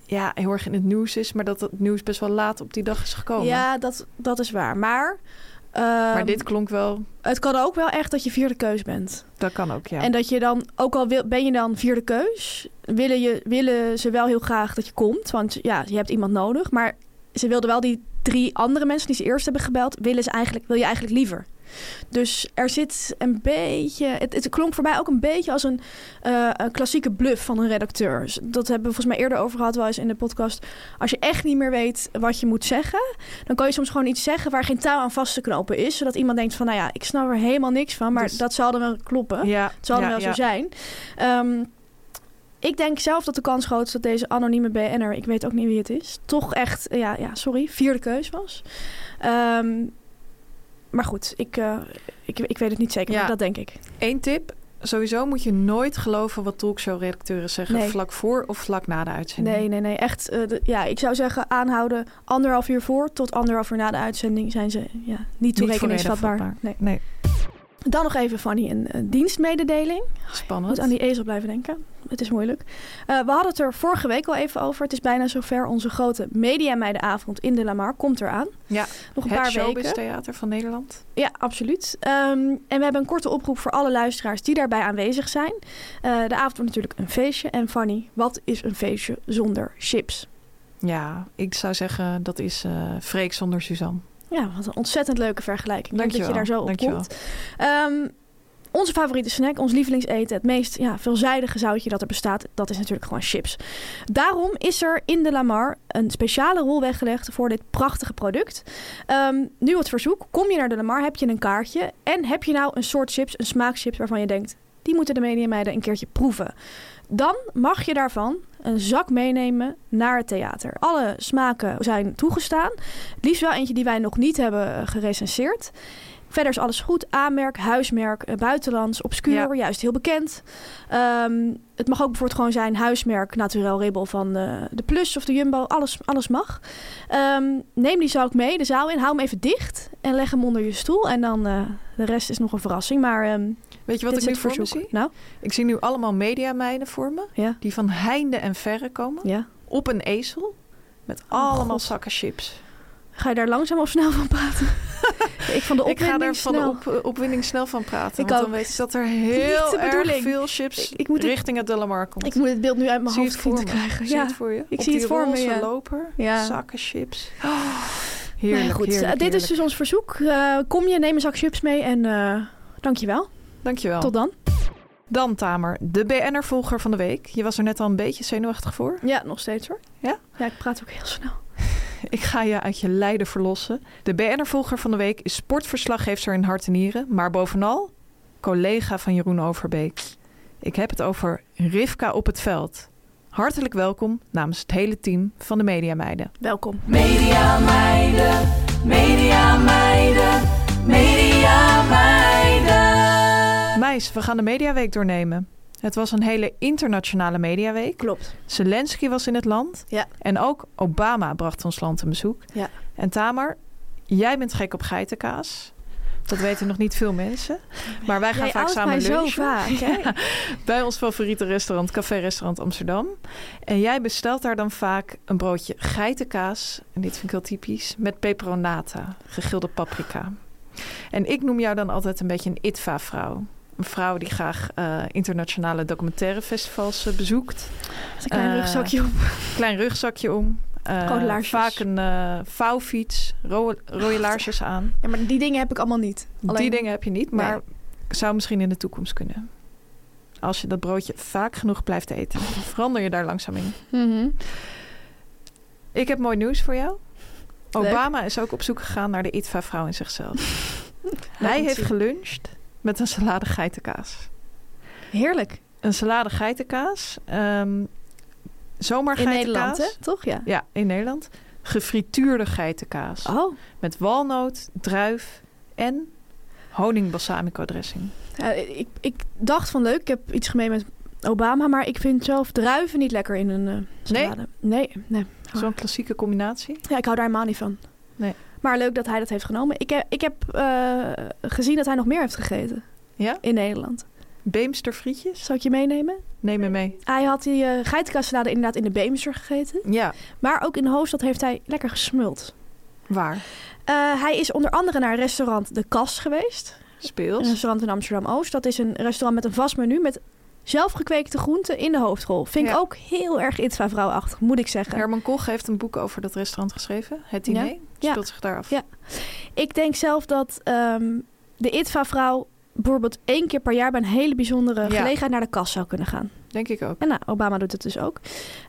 ja, heel erg in het nieuws is, maar dat het nieuws best wel laat op die dag is gekomen. Ja, dat, dat is waar. Maar, maar ehm, dit klonk wel, het kan ook wel echt dat je vierde keus bent. dat kan ook, ja. En dat je dan, ook al wil, ben je dan vierde keus, willen, je, willen ze wel heel graag dat je komt. Want ja, je hebt iemand nodig. Maar ze wilden wel die drie andere mensen die ze eerst hebben gebeld, willen ze eigenlijk, wil je eigenlijk liever. Dus er zit een beetje. Het, het klonk voor mij ook een beetje als een, eh, een klassieke bluff van een redacteur. Dus Dat hebben we volgens mij eerder over gehad, wel eens in de podcast. Als je echt niet meer weet wat je moet zeggen, dan kan je soms gewoon iets zeggen waar geen touw aan vast te knopen is. Zodat iemand denkt: van nou ja, ik snap er helemaal niks van, maar Dus- dat zal er wel kloppen. ja, Het zal ja, er wel ja. nou zo zijn. Ehm, ik denk zelf dat de kans groot is dat deze anonieme BN'er, ik weet ook niet wie het is, toch echt, eh, ja, ja sorry, vierde keus was. Ehm, maar goed, ik, eh, ik, ik weet het niet zeker, Ja. maar dat denk ik. Eén tip, sowieso moet je nooit geloven wat talkshow-redacteuren zeggen Nee. vlak voor of vlak na de uitzending. Nee, nee, nee, echt. eh, de- ja, ik zou zeggen aanhouden anderhalf uur voor tot anderhalf uur na de uitzending zijn ze ja, niet toerekeningsvatbaar. volledig Nee. Nee, Dan nog even, Fanny, een, een dienstmededeling. spannend. Moet aan die ezel blijven denken. Het is moeilijk. Eh, we hadden het er vorige week al even over. Het is bijna zover. Onze grote mediameidenavond in de Lamar komt eraan. Ja, Nog een het paar weken. showbiz-theater van Nederland. Ja, absoluut. Ehm, en we hebben een korte oproep voor alle luisteraars die daarbij aanwezig zijn. Eh, de avond wordt natuurlijk een feestje. En Fanny, wat is een feestje zonder chips? Ja, ik zou zeggen dat is eh Freek zonder Suzanne. Ja, wat een ontzettend leuke vergelijking. Ik denk dat je Dankjewel, daar zo op dankjewel. komt. Ehm, onze favoriete snack, ons lievelingseten, het meest ja, veelzijdige zoutje dat er bestaat, dat is natuurlijk gewoon chips. Daarom is er in de Lamar een speciale rol weggelegd voor dit prachtige product. Ehm, nu het verzoek, kom je naar de Lamar, heb je een kaartje en heb je nou een soort chips, een smaakchips waarvan je denkt, die moeten de mediameiden een keertje proeven. Dan mag je daarvan een zak meenemen naar het theater. Alle smaken zijn toegestaan. Het liefst wel eentje die wij nog niet hebben eh, gerecenseerd. Verder is alles goed. A-merk, huismerk, eh, buitenlands, obscuur, Ja. juist heel bekend. Ehm, het mag ook bijvoorbeeld gewoon zijn huismerk, naturel ribbel van eh, de Plus of de Jumbo. Alles, alles mag. Ehm, neem die zak mee de zaal in, hou hem even dicht en leg hem onder je stoel. En dan eh, de rest is nog een verrassing. Maar ehm, Weet je wat dit is ik het nu voor me verzoek. zie? Nou, Ik zie nu allemaal mediameiden voor me. Ja. Die van heinde en verre komen. ja. Op een ezel. Met allemaal Oh, God. zakken chips. Ga je daar langzaam of snel van praten? ik van de Ik ga opwinding daar van de snel. op, eh, opwinding snel van praten. want Ik dan ook. weet je dat er Niet heel de erg bedoeling. veel chips Ik- ik moet dit- richting het Delamar komt. Ik moet het beeld nu uit mijn Zie je hoofd het voor zien te me? krijgen. Zie je ja. het voor je? Ik Op zie het die voor me, roze ja. loper, Ja. zakken chips. Oh, Nou ja, Heerlijk, goed, heerlijk, eh, dit is heerlijk. dus ons verzoek. Eh, kom je, neem een zak chips mee en eh dankjewel. Dankjewel. Tot dan. Dan Tamer, de BN'er-volger van de week. Je was er net al een beetje zenuwachtig voor. Ja, nog steeds hoor. Ja? Ja, ik praat ook heel snel. Ik ga je uit je lijden verlossen. De BN'er-volger van de week is sportverslaggeefster in hart en nieren. Maar bovenal, collega van Jeroen Overbeek. Ik heb het over Rivka op het veld. Hartelijk welkom namens het hele team van de Media Meiden. Welkom. Meis, we gaan de Mediaweek doornemen. Het was een hele internationale Mediaweek. Klopt. Zelensky was in het land. Ja. En ook Obama bracht ons land een bezoek. Ja. En Tamer, jij bent gek op geitenkaas. Dat weten nog niet veel mensen. Maar wij gaan Jij vaak oudt samen mij zo lunchen. vaak, hè? Ja, bij ons favoriete restaurant, Café Restaurant Amsterdam. En jij bestelt daar dan vaak een broodje geitenkaas. En dit vind ik heel typisch. Met peperonata, gegilde paprika. En ik noem jou dan altijd een beetje een ITVA-vrouw. Een vrouw die graag eh, internationale documentaire festivals eh, bezoekt. Met een klein Eh, rugzakje op. Klein rugzakje om. eh, Rode laarsjes. Vaak een eh vouwfiets, ro- rode laarsjes aan. Ja, maar die dingen heb ik allemaal niet. Alleen- Die dingen heb je niet, maar zou misschien in de toekomst kunnen. Als je dat broodje vaak genoeg blijft eten, verander je daar langzaam in. Mhm. Ik heb mooi nieuws voor jou. Leuk. Obama is ook op zoek gegaan naar de ITVA-vrouw in zichzelf. Hij Laat heeft het zien. geluncht met een salade geitenkaas. Heerlijk. Een salade geitenkaas. ehm zomaar In geitenkaas. Nederland, hè? Toch? Ja. Ja, in Nederland. Gefrituurde geitenkaas. Oh. Met walnoot, druif en honing balsamico dressing. Ja, ik, ik dacht van leuk, ik heb iets gemeen met Obama, maar ik vind zelf druiven niet lekker in een eh salade. Nee, nee. Zo'n klassieke combinatie. Ja, ik hou daar helemaal niet van. Nee. Maar leuk dat hij dat heeft genomen. Ik heb, ik heb eh, gezien dat hij nog meer heeft gegeten Ja? in Nederland. Beemster frietjes. Zal ik je meenemen? Neem me mee. Hij had die eh geitenkaassalade inderdaad in de Beemster gegeten. Ja, Maar ook in de hoofdstad heeft hij lekker gesmuld. waar. Eh, hij is onder andere naar restaurant De Kas geweest. Een Speels. restaurant in Amsterdam-Oost. Dat is een restaurant met een vast menu met zelfgekweekte groenten in de hoofdrol. Vind Ja. ik ook heel erg Itva-vrouwachtig, moet ik zeggen. Herman Koch heeft een boek over dat restaurant geschreven. Het Ja. diner. Ja. Speelt zich daar af. Ja. Ik denk zelf dat ehm, de ITVA-vrouw bijvoorbeeld één keer per jaar bij een hele bijzondere Ja. gelegenheid naar de kas zou kunnen gaan. Denk ik ook. En nou, Obama doet het dus ook.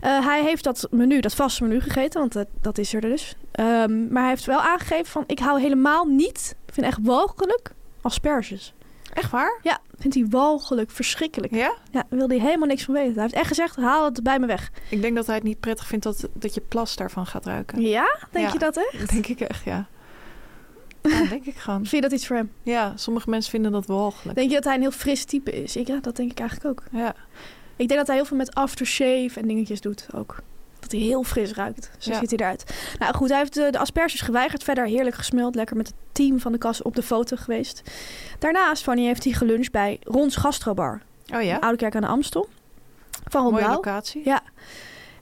Eh, hij heeft dat menu, dat vaste menu gegeten, want dat, dat is er dus. Ehm, maar hij heeft wel aangegeven van, ik hou helemaal niet, ik vind echt walgelijk, asperges. Echt waar? Ja, vindt hij walgelijk, verschrikkelijk. Ja? Ja, daar wilde hij helemaal niks van weten. Hij heeft echt gezegd, haal het bij me weg. Ik denk dat hij het niet prettig vindt dat, dat je plas daarvan gaat ruiken. Ja, denk Ja. je dat echt? Denk ik echt, ja. Ja, denk ik gewoon. Vind je dat iets voor hem? Ja, sommige mensen vinden dat walgelijk. Denk je dat hij een heel fris type is? Ik, ja, dat denk ik eigenlijk ook. Ja. Ik denk dat hij heel veel met aftershave en dingetjes doet ook. Dat hij heel fris ruikt. Zo Ja. ziet hij eruit. Nou goed, hij heeft de, de asperges geweigerd. Verder heerlijk gesmuld. Lekker met het team van de kas op de foto geweest. Daarnaast, Fanny, heeft hij geluncht bij Rons Gastrobar. Oh ja, in Oude Kerk aan de Amstel. Van Ron mooie Blauw. locatie. Ja.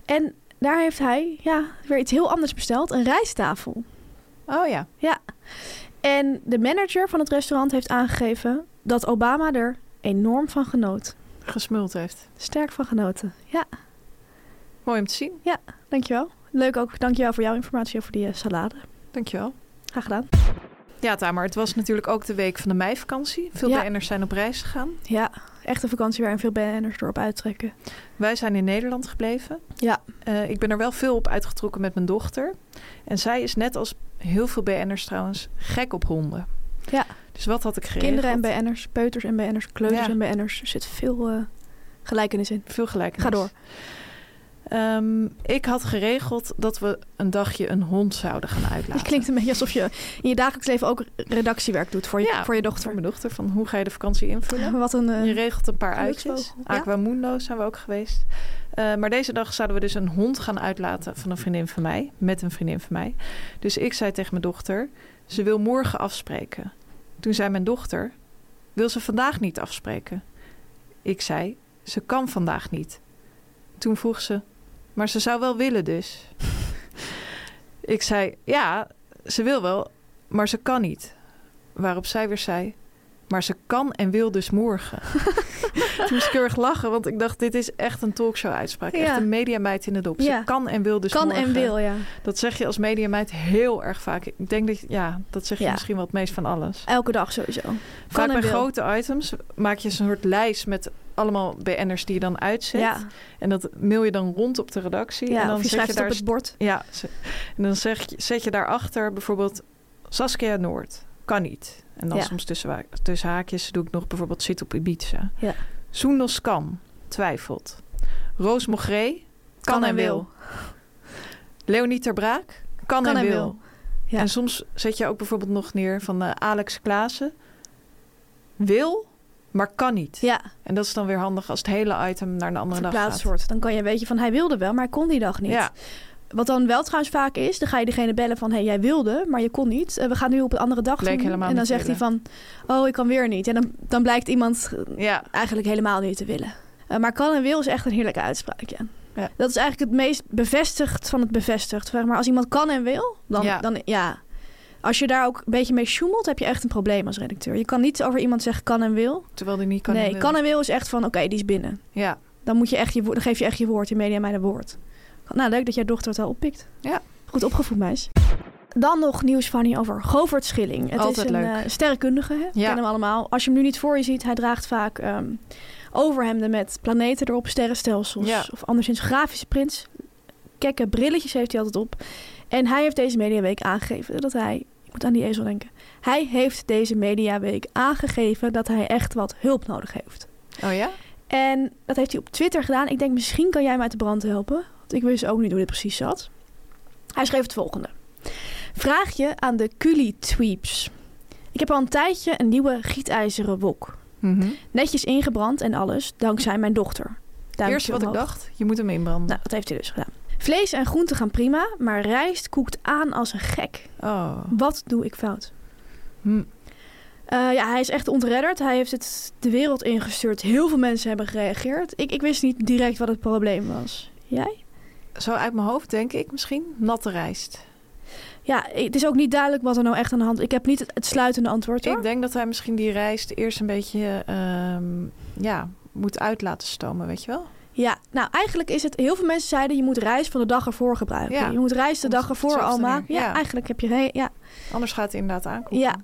En daar heeft hij ja, weer iets heel anders besteld. Een rijsttafel. Oh ja. Ja. En de manager van het restaurant heeft aangegeven dat Obama er enorm van genoot. Gesmuld heeft. Sterk van genoten. Ja. Mooi om te zien. Dankjewel. Leuk ook. Dankjewel voor jouw informatie over die eh, salade. Dankjewel. Graag gedaan. Ja, Tamer, het was natuurlijk ook de week van de meivakantie. Veel Ja. BN'ers zijn op reis gegaan. Ja, echt een vakantie waarin veel BN'ers erop uittrekken. Wij zijn in Nederland gebleven. Ja. Eh, ik ben er wel veel op uitgetrokken met mijn dochter. En zij is net als heel veel BN'ers trouwens gek op honden. Ja. Dus wat had ik geregeld? Kinderen en BN'ers, peuters en BN'ers, kleuters Ja. en BN'ers. Er zit veel eh, gelijkenis in. Veel gelijk. Ga door. Ehm, ik had geregeld dat we een dagje een hond zouden gaan uitlaten. Het klinkt een beetje alsof je in je dagelijks leven ook redactiewerk doet voor je, Ja. voor je dochter. voor mijn dochter van hoe ga je de vakantie invullen? Wat een... eh, Je regelt een paar geluksvogel. uitjes. Ja. Aquamundo zijn we ook geweest. Eh, maar deze dag zouden we dus een hond gaan uitlaten van een vriendin van mij. Met een vriendin van mij. Dus ik zei tegen mijn dochter, ze wil morgen afspreken. Toen zei mijn dochter, wil ze vandaag niet afspreken? Ik zei, ze kan vandaag niet. Toen vroeg ze, maar ze zou wel willen dus. ik zei, ja, ze wil wel, maar ze kan niet. Waarop zij weer zei, maar ze kan en wil dus morgen. Toen moest ik heel erg lachen, want ik dacht, dit is echt een talkshow-uitspraak. Ja. Echt een mediameid in de dop. Ja. Ze kan en wil dus kan morgen. en wil, ja. Dat zeg je als mediameid heel erg vaak. Ik denk dat, je- ja, dat zeg je Ja. misschien wel het meest van alles. Elke dag sowieso. Vaak en bij wil. grote items maak je een soort lijst met allemaal BN'ers die je dan uitzet. Ja, En dat mail je dan rond op de redactie. ja en dan of je zet schrijft het daar op het bord. ja, ze- en dan zeg je, zet je daarachter bijvoorbeeld Saskia Noord. Kan niet. En dan Ja. soms tussen, wa- tussen haakjes doe ik nog bijvoorbeeld zit op Ibiza. Ja. Soendos kan. Twijfelt. Roos Mogré. Kan, en wil. Leonie Ter Braak. Kan, en, wil. Ja. En soms zet je ook bijvoorbeeld nog neer van eh, Alex Klaassen. Wil, maar kan niet. Ja, En dat is dan weer handig als het hele item naar een andere dag gaat. verplaatst wordt. Dan kan je weet je van hij wilde wel, maar hij kon die dag niet. Ja, Wat dan wel trouwens vaak is, dan ga je degene bellen van... hé, hey, jij wilde, maar je kon niet. Eh, we gaan nu op een andere dag Bleek doen. helemaal en dan niet zegt hij van, oh, ik kan weer niet. En dan, dan blijkt iemand eh, ja. eigenlijk helemaal niet te willen. Eh, maar kan en wil is echt een heerlijke uitspraak, ja. Ja. Dat is eigenlijk het meest bevestigd van het bevestigd. Zeg maar als iemand kan en wil, dan Ja. ja. Dan, ja. Als je daar ook een beetje mee sjoemelt, heb je echt een probleem als redacteur. Je kan niet over iemand zeggen kan en wil. terwijl die niet kan. en nee, wil. kan en wil is echt van, oké, die is binnen. Ja. Dan, moet je echt je, wo- dan geef je echt je woord, je media mij een woord. Nou, leuk dat jouw dochter het al oppikt. Ja. Goed opgevoed, meis. Dan nog nieuws, Fanny, over Govert Schilling. Het Altijd is een leuk. eh, sterrenkundige, hè? we Ja. kennen hem allemaal. Als je hem nu niet voor je ziet, hij draagt vaak ehm, overhemden met planeten erop, sterrenstelsels. Ja. Of anderszins grafische prints. Kekke brilletjes heeft hij altijd op. En hij heeft deze mediaweek aangegeven dat hij... Ik moet aan die ezel denken. Hij heeft deze mediaweek aangegeven dat hij echt wat hulp nodig heeft. Oh ja? En dat heeft hij op Twitter gedaan. Ik denk, misschien kan jij mij uit de brand helpen. Want ik wist ook niet hoe dit precies zat. Hij schreef het volgende. Vraag je aan de Culi-tweeps. Ik heb al een tijdje een nieuwe gietijzeren wok. Mhm. Netjes ingebrand en alles, dankzij mijn dochter. Duimpje Eerst wat ik omhoog. dacht, je moet hem inbranden. Nou, dat heeft hij dus gedaan. Vlees en groenten gaan prima, maar rijst koekt aan als een gek. Oh. Wat doe ik fout? Hm. Eh, ja, hij is echt ontredderd. Hij heeft het de wereld ingestuurd. Heel veel mensen hebben gereageerd. Ik, ik wist niet direct wat het probleem was. Jij? Zo uit mijn hoofd denk ik misschien natte rijst. Ja, ik- het is ook niet duidelijk wat er nou echt aan de hand is. Ik heb niet het, het sluitende antwoord hoor. Ik denk dat hij misschien die rijst eerst een beetje ehm, ja, moet uit laten stomen, weet je wel? Ja, nou eigenlijk is het... Heel veel mensen zeiden je moet rijst van de dag ervoor gebruiken. Ja. Je moet rijst de Om dag het ervoor zachter al neer. maken. Ja, Ja. eigenlijk heb je... re- Ja, Anders gaat hij inderdaad aankomen. Ja.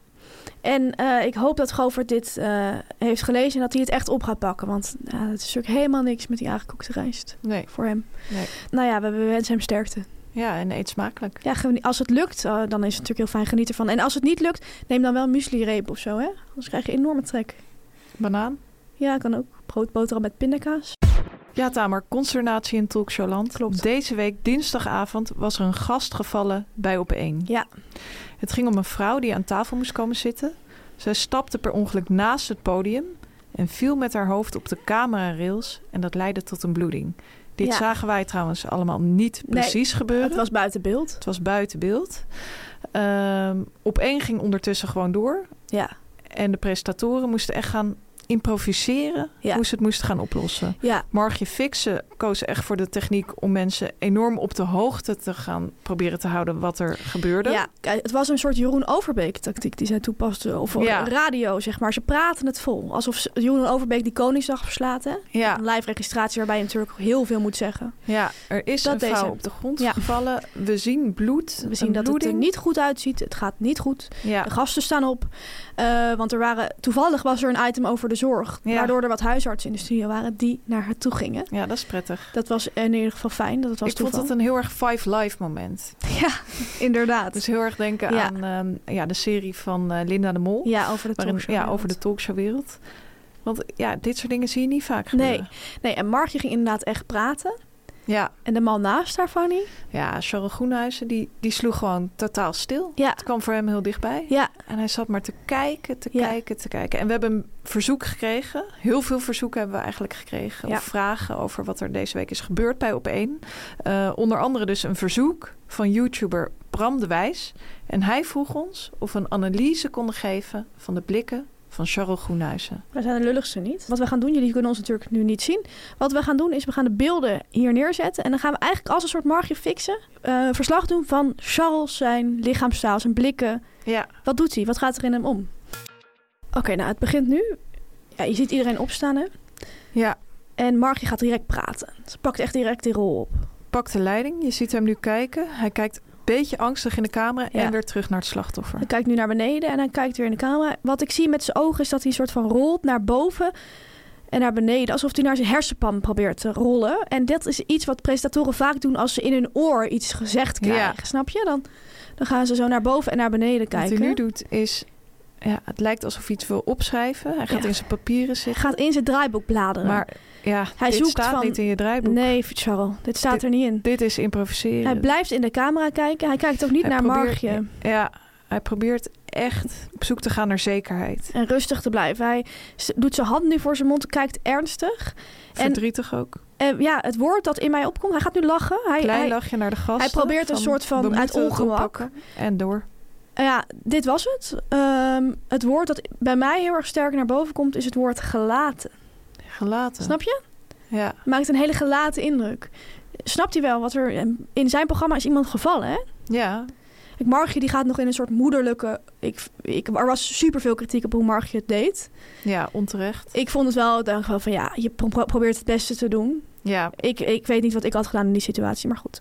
En eh, ik hoop dat Govert dit eh, heeft gelezen en dat hij het echt op gaat pakken. Want nou, het is natuurlijk helemaal niks met die aangekookte rijst Nee. voor hem. Nee. Nou ja, we, we wensen hem sterkte. Ja, en eet smakelijk. Ja, geni- als het lukt, eh, dan is het natuurlijk heel fijn genieten van. En als het niet lukt, neem dan wel muesli-reep of zo, hè? Anders krijg je enorme trek. Banaan. Ja, kan ook. Brood, boterham met pindakaas. Ja, Tamer, consternatie in Talkshowland. Klopt. Deze week, dinsdagavond, was er een gast gevallen bij Op1. Ja. Het ging om een vrouw die aan tafel moest komen zitten. Zij stapte per ongeluk naast het podium en viel met haar hoofd op de camerarails. En dat leidde tot een bloeding. Dit Ja. zagen wij trouwens allemaal niet Nee, precies gebeuren. Het was buiten beeld. Het was buiten beeld. Ehm, op één ging ondertussen gewoon door. Ja. En de presentatoren moesten echt gaan improviseren Ja. hoe ze het moesten gaan oplossen. Ja, Margje Fixen koos echt voor de techniek om mensen enorm op de hoogte te gaan proberen te houden wat er gebeurde. ja. Kijk, het was een soort Jeroen Overbeek-tactiek die zij toepaste. Of Ja. radio, zeg maar. Ze praten het vol. Alsof ze- Jeroen Overbeek die Koningsdag verslaat, hè? ja. Een live registratie waarbij je natuurlijk heel veel moet zeggen. Ja, er is Dat een deze- vrouw op de grond Ja. gevallen. We zien bloed. We zien een dat het bloeding. er niet goed uitziet. Het gaat niet goed. Ja. De gasten staan op. Eh, want er waren, toevallig was er een item over de zorg. Ja. Waardoor er wat huisartsen in de studio waren die naar haar toe gingen. ja, dat is prettig. Dat was in ieder geval fijn. Dat het was Ik vond toeval. het een heel erg Five Live moment. Ja, inderdaad. Dus heel erg denken Ja. aan ehm, ja, de serie van eh, Linda de Mol. ja, over de waarin, talkshow. ja, over de talkshowwereld. Want ja, dit soort dingen zie je niet vaak gebeuren. Nee, en Margje ging inderdaad echt praten. Ja, En de man naast haar, Fanny? ja Charles Groenhuizen die, die sloeg gewoon totaal stil. Ja. Het kwam voor hem heel dichtbij. Ja, En hij zat maar te kijken, te Ja. kijken, te kijken. En we hebben een verzoek gekregen. Heel veel verzoeken hebben we eigenlijk gekregen. Ja. Of vragen over wat er deze week is gebeurd bij Op1. Eh, onder andere dus een verzoek van YouTuber Bram de Wijs. En hij vroeg ons of we een analyse konden geven van de blikken van Charles Groenhuizen. wij zijn de lulligste niet. Wat we gaan doen, jullie kunnen ons natuurlijk nu niet zien. Wat we gaan doen is, we gaan de beelden hier neerzetten. En dan gaan we eigenlijk als een soort margje fixen. eh, verslag doen van Charles, zijn lichaamstaal, zijn blikken. Ja, Wat doet hij? Wat gaat er in hem om? Oké, nou het begint nu. Ja, je ziet iedereen opstaan hè. ja. En Margie gaat direct praten. Ze pakt echt direct die rol op. Pak de leiding. Je ziet hem nu kijken. Hij kijkt een beetje angstig in de camera Ja. en weer terug naar het slachtoffer. Hij kijkt nu naar beneden en hij kijkt weer in de camera. Wat ik zie met zijn ogen is dat hij een soort van rolt naar boven en naar beneden. Alsof hij naar zijn hersenpan probeert te rollen. En dat is iets wat presentatoren vaak doen als ze in hun oor iets gezegd Ja. krijgen. Snap je? Dan, dan gaan ze zo naar boven en naar beneden kijken. Wat hij nu doet is... Ja, het lijkt alsof hij iets wil opschrijven. Hij gaat Ja. in zijn papieren Hij zitten. gaat in zijn draaiboek bladeren. Maar ja, Hij dit zoekt staat van- niet in je draaiboek. nee, Charles, dit staat Dit- er niet in. Dit is improviseren. Hij blijft in de camera kijken. Hij kijkt ook niet Hij naar probeert- Margje. Ja, hij probeert echt op zoek te gaan naar zekerheid. En rustig te blijven. Hij s- doet zijn hand nu voor zijn mond, kijkt ernstig. Verdrietig ook. En ja, het woord dat in mij opkomt, hij gaat nu lachen. Hij, Klein hij- lachje naar de gasten. hij probeert een soort van we uit moeten het ongemak. oppakken. En door. Ja, dit was het. Ehm, het woord dat bij mij heel erg sterk naar boven komt, is het woord gelaten. Gelaten. Snap je? Ja, Maakt een hele gelaten indruk. Snapt hij wel wat er... In zijn programma is iemand gevallen, hè? ja. Kijk, Margje die gaat nog in een soort moederlijke... Ik, ik, er was superveel kritiek op hoe Margje het deed. ja onterecht. Ik vond het wel... Ik dacht wel van ja, je pro- probeert het beste te doen. Ja, Ik, ik weet niet wat ik had gedaan in die situatie, maar goed.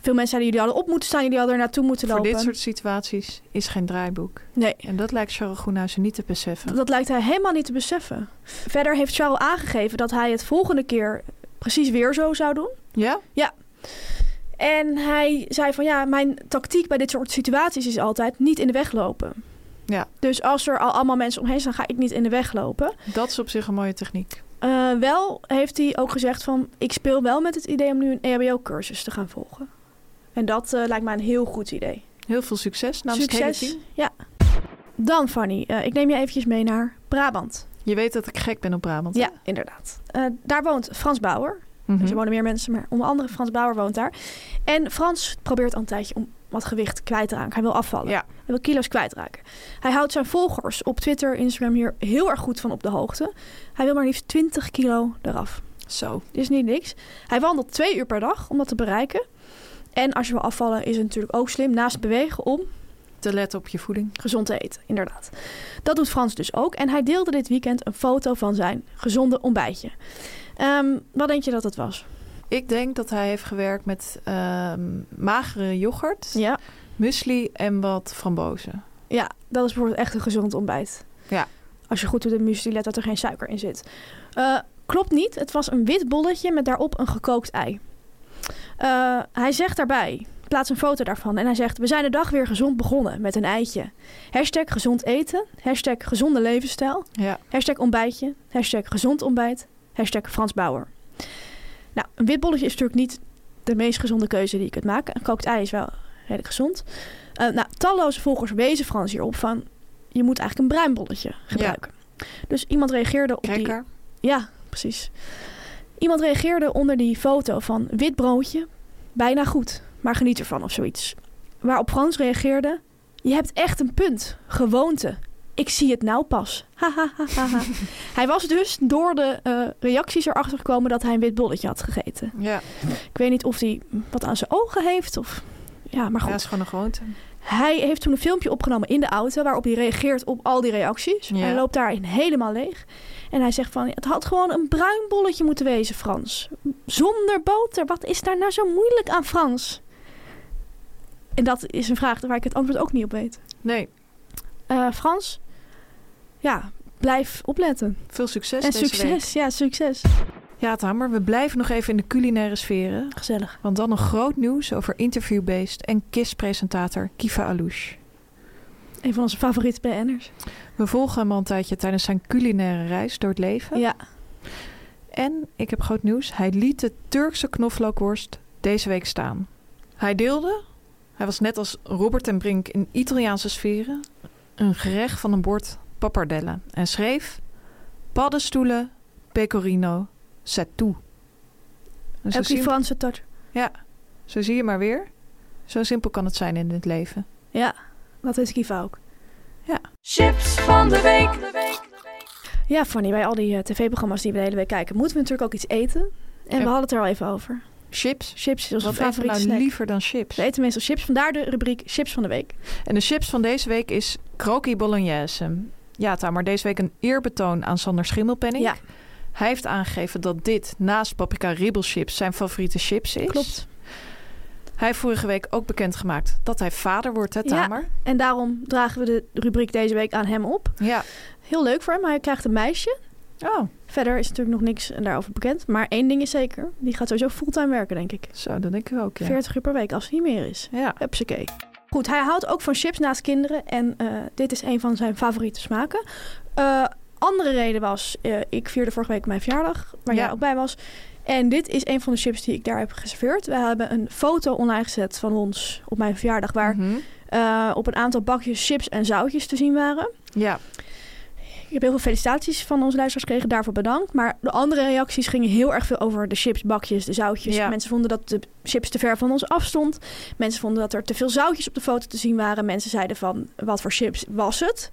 Veel mensen zeiden, jullie hadden op moeten staan, jullie hadden er naartoe moeten voor lopen. dit soort situaties is geen draaiboek. Nee, En dat lijkt Charles Groenhuizen niet te beseffen. dat lijkt hij helemaal niet te beseffen. Verder heeft Charles aangegeven dat hij het volgende keer precies weer zo zou doen. Ja? En hij zei van ja, mijn tactiek bij dit soort situaties is altijd niet in de weg lopen. Ja. Dus als er al allemaal mensen omheen staan, ga ik niet in de weg lopen. Dat is op zich een mooie techniek. Eh, wel heeft hij ook gezegd van ik speel wel met het idee om nu een EHBO-cursus te gaan volgen. En dat eh, lijkt mij een heel goed idee. Heel veel succes namens het hele Succes. team. Ja. Dan Fanny, eh, ik neem je eventjes mee naar Brabant. Je weet dat ik gek ben op Brabant. hè? Ja, inderdaad. Eh, daar woont Frans Bauer. Mhm. Dus er wonen meer mensen, maar onder andere Frans Bauer woont daar. En Frans probeert al een tijdje om wat gewicht kwijt te raken. Hij wil afvallen. Ja. Hij wil kilo's kwijtraken. Hij houdt zijn volgers op Twitter, Instagram hier heel erg goed van op de hoogte. Hij wil maar liefst 20 kilo eraf. Zo. Dit is niet niks. Hij wandelt twee uur per dag om dat te bereiken. En als je wil afvallen is het natuurlijk ook slim naast bewegen om Te letten op je voeding. gezond te eten. Inderdaad. Dat doet Frans dus ook. En hij deelde dit weekend een foto van zijn gezonde ontbijtje. Ehm, wat denk je dat dat was? Ik denk dat hij heeft gewerkt met ehm, magere yoghurt, Ja. muesli en wat frambozen. Ja, dat is bijvoorbeeld echt een gezond ontbijt. Ja. Als je goed doet de muesli, let dat er geen suiker in zit. Eh, klopt niet. Het was een wit bolletje met daarop een gekookt ei. Eh, hij zegt daarbij, plaats een foto daarvan en hij zegt... We zijn de dag weer gezond begonnen met een eitje. Hashtag gezond eten, hashtag gezonde levensstijl, Ja, hashtag ontbijtje, hashtag gezond ontbijt, hashtag Frans Bauer. Nou, een wit bolletje is natuurlijk niet de meest gezonde keuze die je kunt maken. Een kookt ei is wel redelijk gezond. Eh, nou, talloze volgers wezen Frans hierop van... je moet eigenlijk een bruin bolletje gebruiken. Dus iemand reageerde op die... cracker. Ja, precies. Iemand reageerde onder die foto van wit broodje, bijna goed, maar geniet ervan of zoiets. Waarop Frans reageerde, je hebt echt een punt, gewoonte. Ik zie het nou pas. Ha, ha, ha, ha, ha. hij was dus door de eh, reacties erachter gekomen dat hij een wit bolletje had gegeten. Ja, Ik weet niet of hij wat aan zijn ogen heeft of... Ja, maar dat goed. is gewoon een gewoonte. Hij heeft toen een filmpje opgenomen in de auto waarop hij reageert op al die reacties. Ja. Hij loopt daarin helemaal leeg. En hij zegt van, het had gewoon een bruin bolletje moeten wezen, Frans. Zonder boter. Wat is daar nou zo moeilijk aan, Frans? En dat is een vraag waar ik het antwoord ook niet op weet. Nee, Eh, Frans, ja, blijf opletten. veel succes en deze succes, ja, succes. week. Ja, Tamer, we blijven nog even in de culinaire sferen. Gezellig. Want dan nog groot nieuws over interviewbeest en KISS-presentator Kiva Alouche. Een van onze favoriete BN'ers. Oh. We volgen hem al een tijdje tijdens zijn culinaire reis door het leven. Ja, En ik heb groot nieuws. Hij liet de Turkse knoflookworst deze week staan. Hij deelde, hij was net als Robert en Brink in Italiaanse sferen, een gerecht van een bord pappardellen. En schreef paddenstoelen, pecorino, set toe. En zo, Ook die zie, Franse touch. zo zie je maar weer. Zo simpel kan het zijn in het leven. Ja, dat is Kiva ook. Chips van de week. Ja, Fanny, bij al die eh, tv-programma's die we de hele week kijken, moeten we natuurlijk ook iets eten. En Ja. we hadden het er al even over. Chips. Chips is onze Wat eten we favoriete nou snack. liever dan chips? We eten meestal chips, vandaar de rubriek Chips van de Week. En de chips van deze week is croquis bolognese. Ja, Tamar, deze week een eerbetoon aan Sander Schimmelpenning. Ja. Hij heeft aangegeven dat dit naast paprika ribbelchips zijn favoriete chips is. Klopt. Hij heeft vorige week ook bekendgemaakt dat hij vader wordt, hè Ja. Tamer? En daarom dragen we de rubriek deze week aan hem op. Ja. Heel leuk voor hem, hij krijgt een meisje. Oh, Verder is natuurlijk nog niks daarover bekend. Maar één ding is zeker, die gaat sowieso fulltime werken, denk ik. zo, dat denk ik ook, ja. 40 uur per week, als het niet meer is. Ja, Hupsakee. Goed, hij houdt ook van chips naast kinderen. En eh, dit is een van zijn favoriete smaken. Eh, andere reden was, eh, ik vierde vorige week mijn verjaardag, waar Ja. jij ook bij was. En dit is een van de chips die ik daar heb geserveerd. We hebben een foto online gezet van ons op mijn verjaardag, waar Mhm. eh, op een aantal bakjes chips en zoutjes te zien waren. ja. Ik heb heel veel felicitaties van onze luisteraars gekregen, daarvoor bedankt. Maar de andere reacties gingen heel erg veel over de chips, bakjes, de zoutjes. Ja. Mensen vonden dat de chips te ver van ons afstond. Mensen vonden dat er te veel zoutjes op de foto te zien waren. Mensen zeiden van, wat voor chips was het?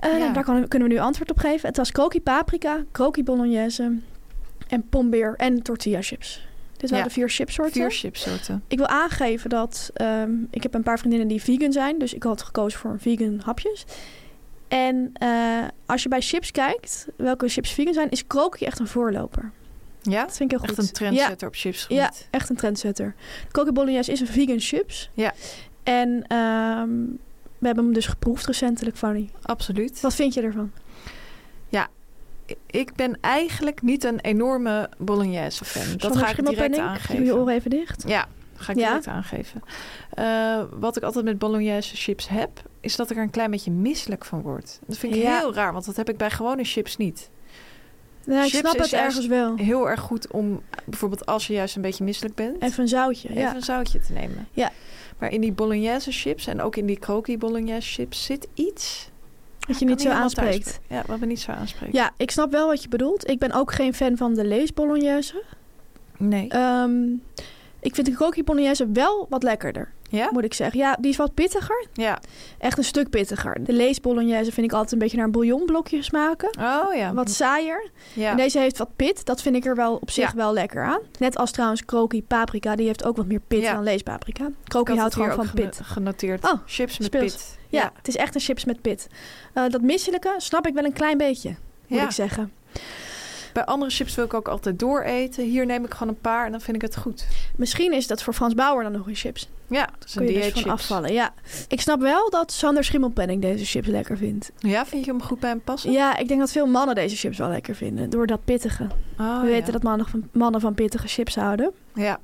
Eh, Ja. nou, daar kan- kunnen we nu antwoord op geven. Het was kroki paprika, kroki bolognese en pombeer en tortilla chips. Dit waren Ja. de vier chipsoorten. vier chipsoorten. Ik wil aangeven dat ehm, ik heb een paar vriendinnen die vegan zijn. Dus ik had gekozen voor vegan hapjes. En eh, als je bij chips kijkt, welke chips vegan zijn, is krookje echt een voorloper. Ja? Dat vind ik heel Echt goed. een Ja, trendsetter op chipsgebied. ja, echt een trendsetter. Krookje bolognese is een vegan chips. Ja. En ehm, we hebben hem dus geproefd recentelijk, Fanny. absoluut. Wat vind je ervan? Ik ben eigenlijk niet een enorme bolognese fan. Dat Sander ga ik direct Schimmelpenninck, aangeven. Doe je oren even dicht. Ja, ga ik Ja. direct aangeven. Eh, wat ik altijd met bolognese chips heb, is dat ik er een klein beetje misselijk van word. Dat vind ik Ja. heel raar, want dat heb ik bij gewone chips niet. Ja, ik Chips snap is het juist- ergens wel. Heel erg goed om bijvoorbeeld als je juist een beetje misselijk bent, even, Even een zoutje. ja. een zoutje te nemen. Ja. Maar in die bolognese chips en ook in die croquis bolognese chips zit iets Dat je niet zo kan helemaal thuis aanspreekt. bij- Ja, wat me niet zo aanspreekt. Ja, ik snap wel wat je bedoelt. Ik ben ook geen fan van de lees bolognese. Nee. Ehm, ik vind de croquis bolognese wel wat lekkerder, ja? moet ik zeggen. Ja, die is wat pittiger. Ja. Echt een stuk pittiger. De lees bolognese vind ik altijd een beetje naar een bouillonblokje smaken. Oh ja. Wat saaier. En Ja. deze heeft wat pit. Dat vind ik er wel op zich Ja. wel lekker aan. Net als trouwens croquis paprika. Die heeft ook wat meer pit Ja. dan lees paprika. Ik had Croquis het houdt hier gewoon van ook geno- pit. genoteerd. Oh, chips met speels. pit. Ja, het is echt een chips met pit. Eh, dat misselijke snap ik wel een klein beetje, moet Ja. ik zeggen. Bij andere chips wil ik ook altijd dooreten. Hier neem ik gewoon een paar en dan vind ik het goed. Misschien is dat voor Frans Bauer dan nog een chips. Ja, dat is een kun je dus dieetchips. van afvallen. Ja. Ik snap wel dat Sander Schimmelpenning deze chips lekker vindt. Ja, vind je hem goed bij hem passen? Ja, ik denk dat veel mannen deze chips wel lekker vinden. Door dat pittige. Oh, We weten ja. dat mannen van, mannen van pittige chips houden. Ja,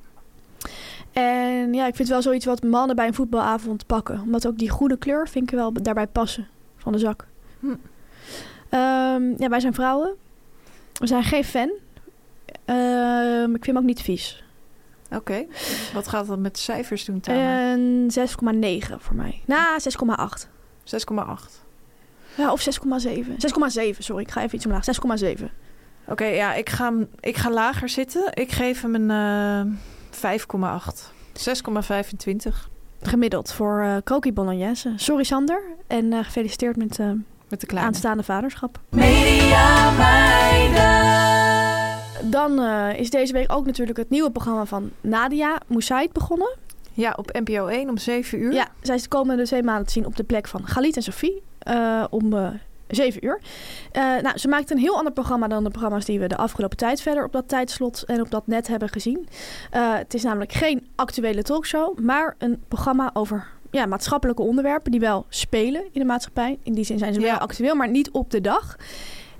En ja, ik vind het wel zoiets wat mannen bij een voetbalavond pakken. Omdat ook die goede kleur vind ik wel daarbij passen. Van de zak. Hm. Ehm, ja, wij zijn vrouwen. We zijn geen fan. Ehm, ik vind hem ook niet vies. oké. Wat gaat dat met cijfers doen, Eh. Tana? En 6,9 voor mij. Nou, Na 6,8. 6,8. Ja, of 6,7. 6,7, sorry. Ik ga even iets omlaag. 6,7. Oké, ja, ik ga, hem- ik ga lager zitten. Ik geef hem een eh 5,8. 6,25 Gemiddeld voor eh Croquis Bolognese. Sorry Sander. En eh, gefeliciteerd met eh met de kleine. aanstaande vaderschap. Media meiden. Dan eh, is deze week ook natuurlijk het nieuwe programma van Nadia Moussaid begonnen. Ja, op NPO 1 om 7 uur. Ja, zij is de komende twee maanden te zien op de plek van Galit en Sophie. eh, om eh 7 uur. Eh, nou, ze maakt een heel ander programma dan de programma's die we de afgelopen tijd verder op dat tijdslot en op dat net hebben gezien. Eh, het is namelijk geen actuele talkshow, maar een programma over ja, maatschappelijke onderwerpen die wel spelen in de maatschappij. In die zin zijn ze Ja. wel actueel, maar niet op de dag.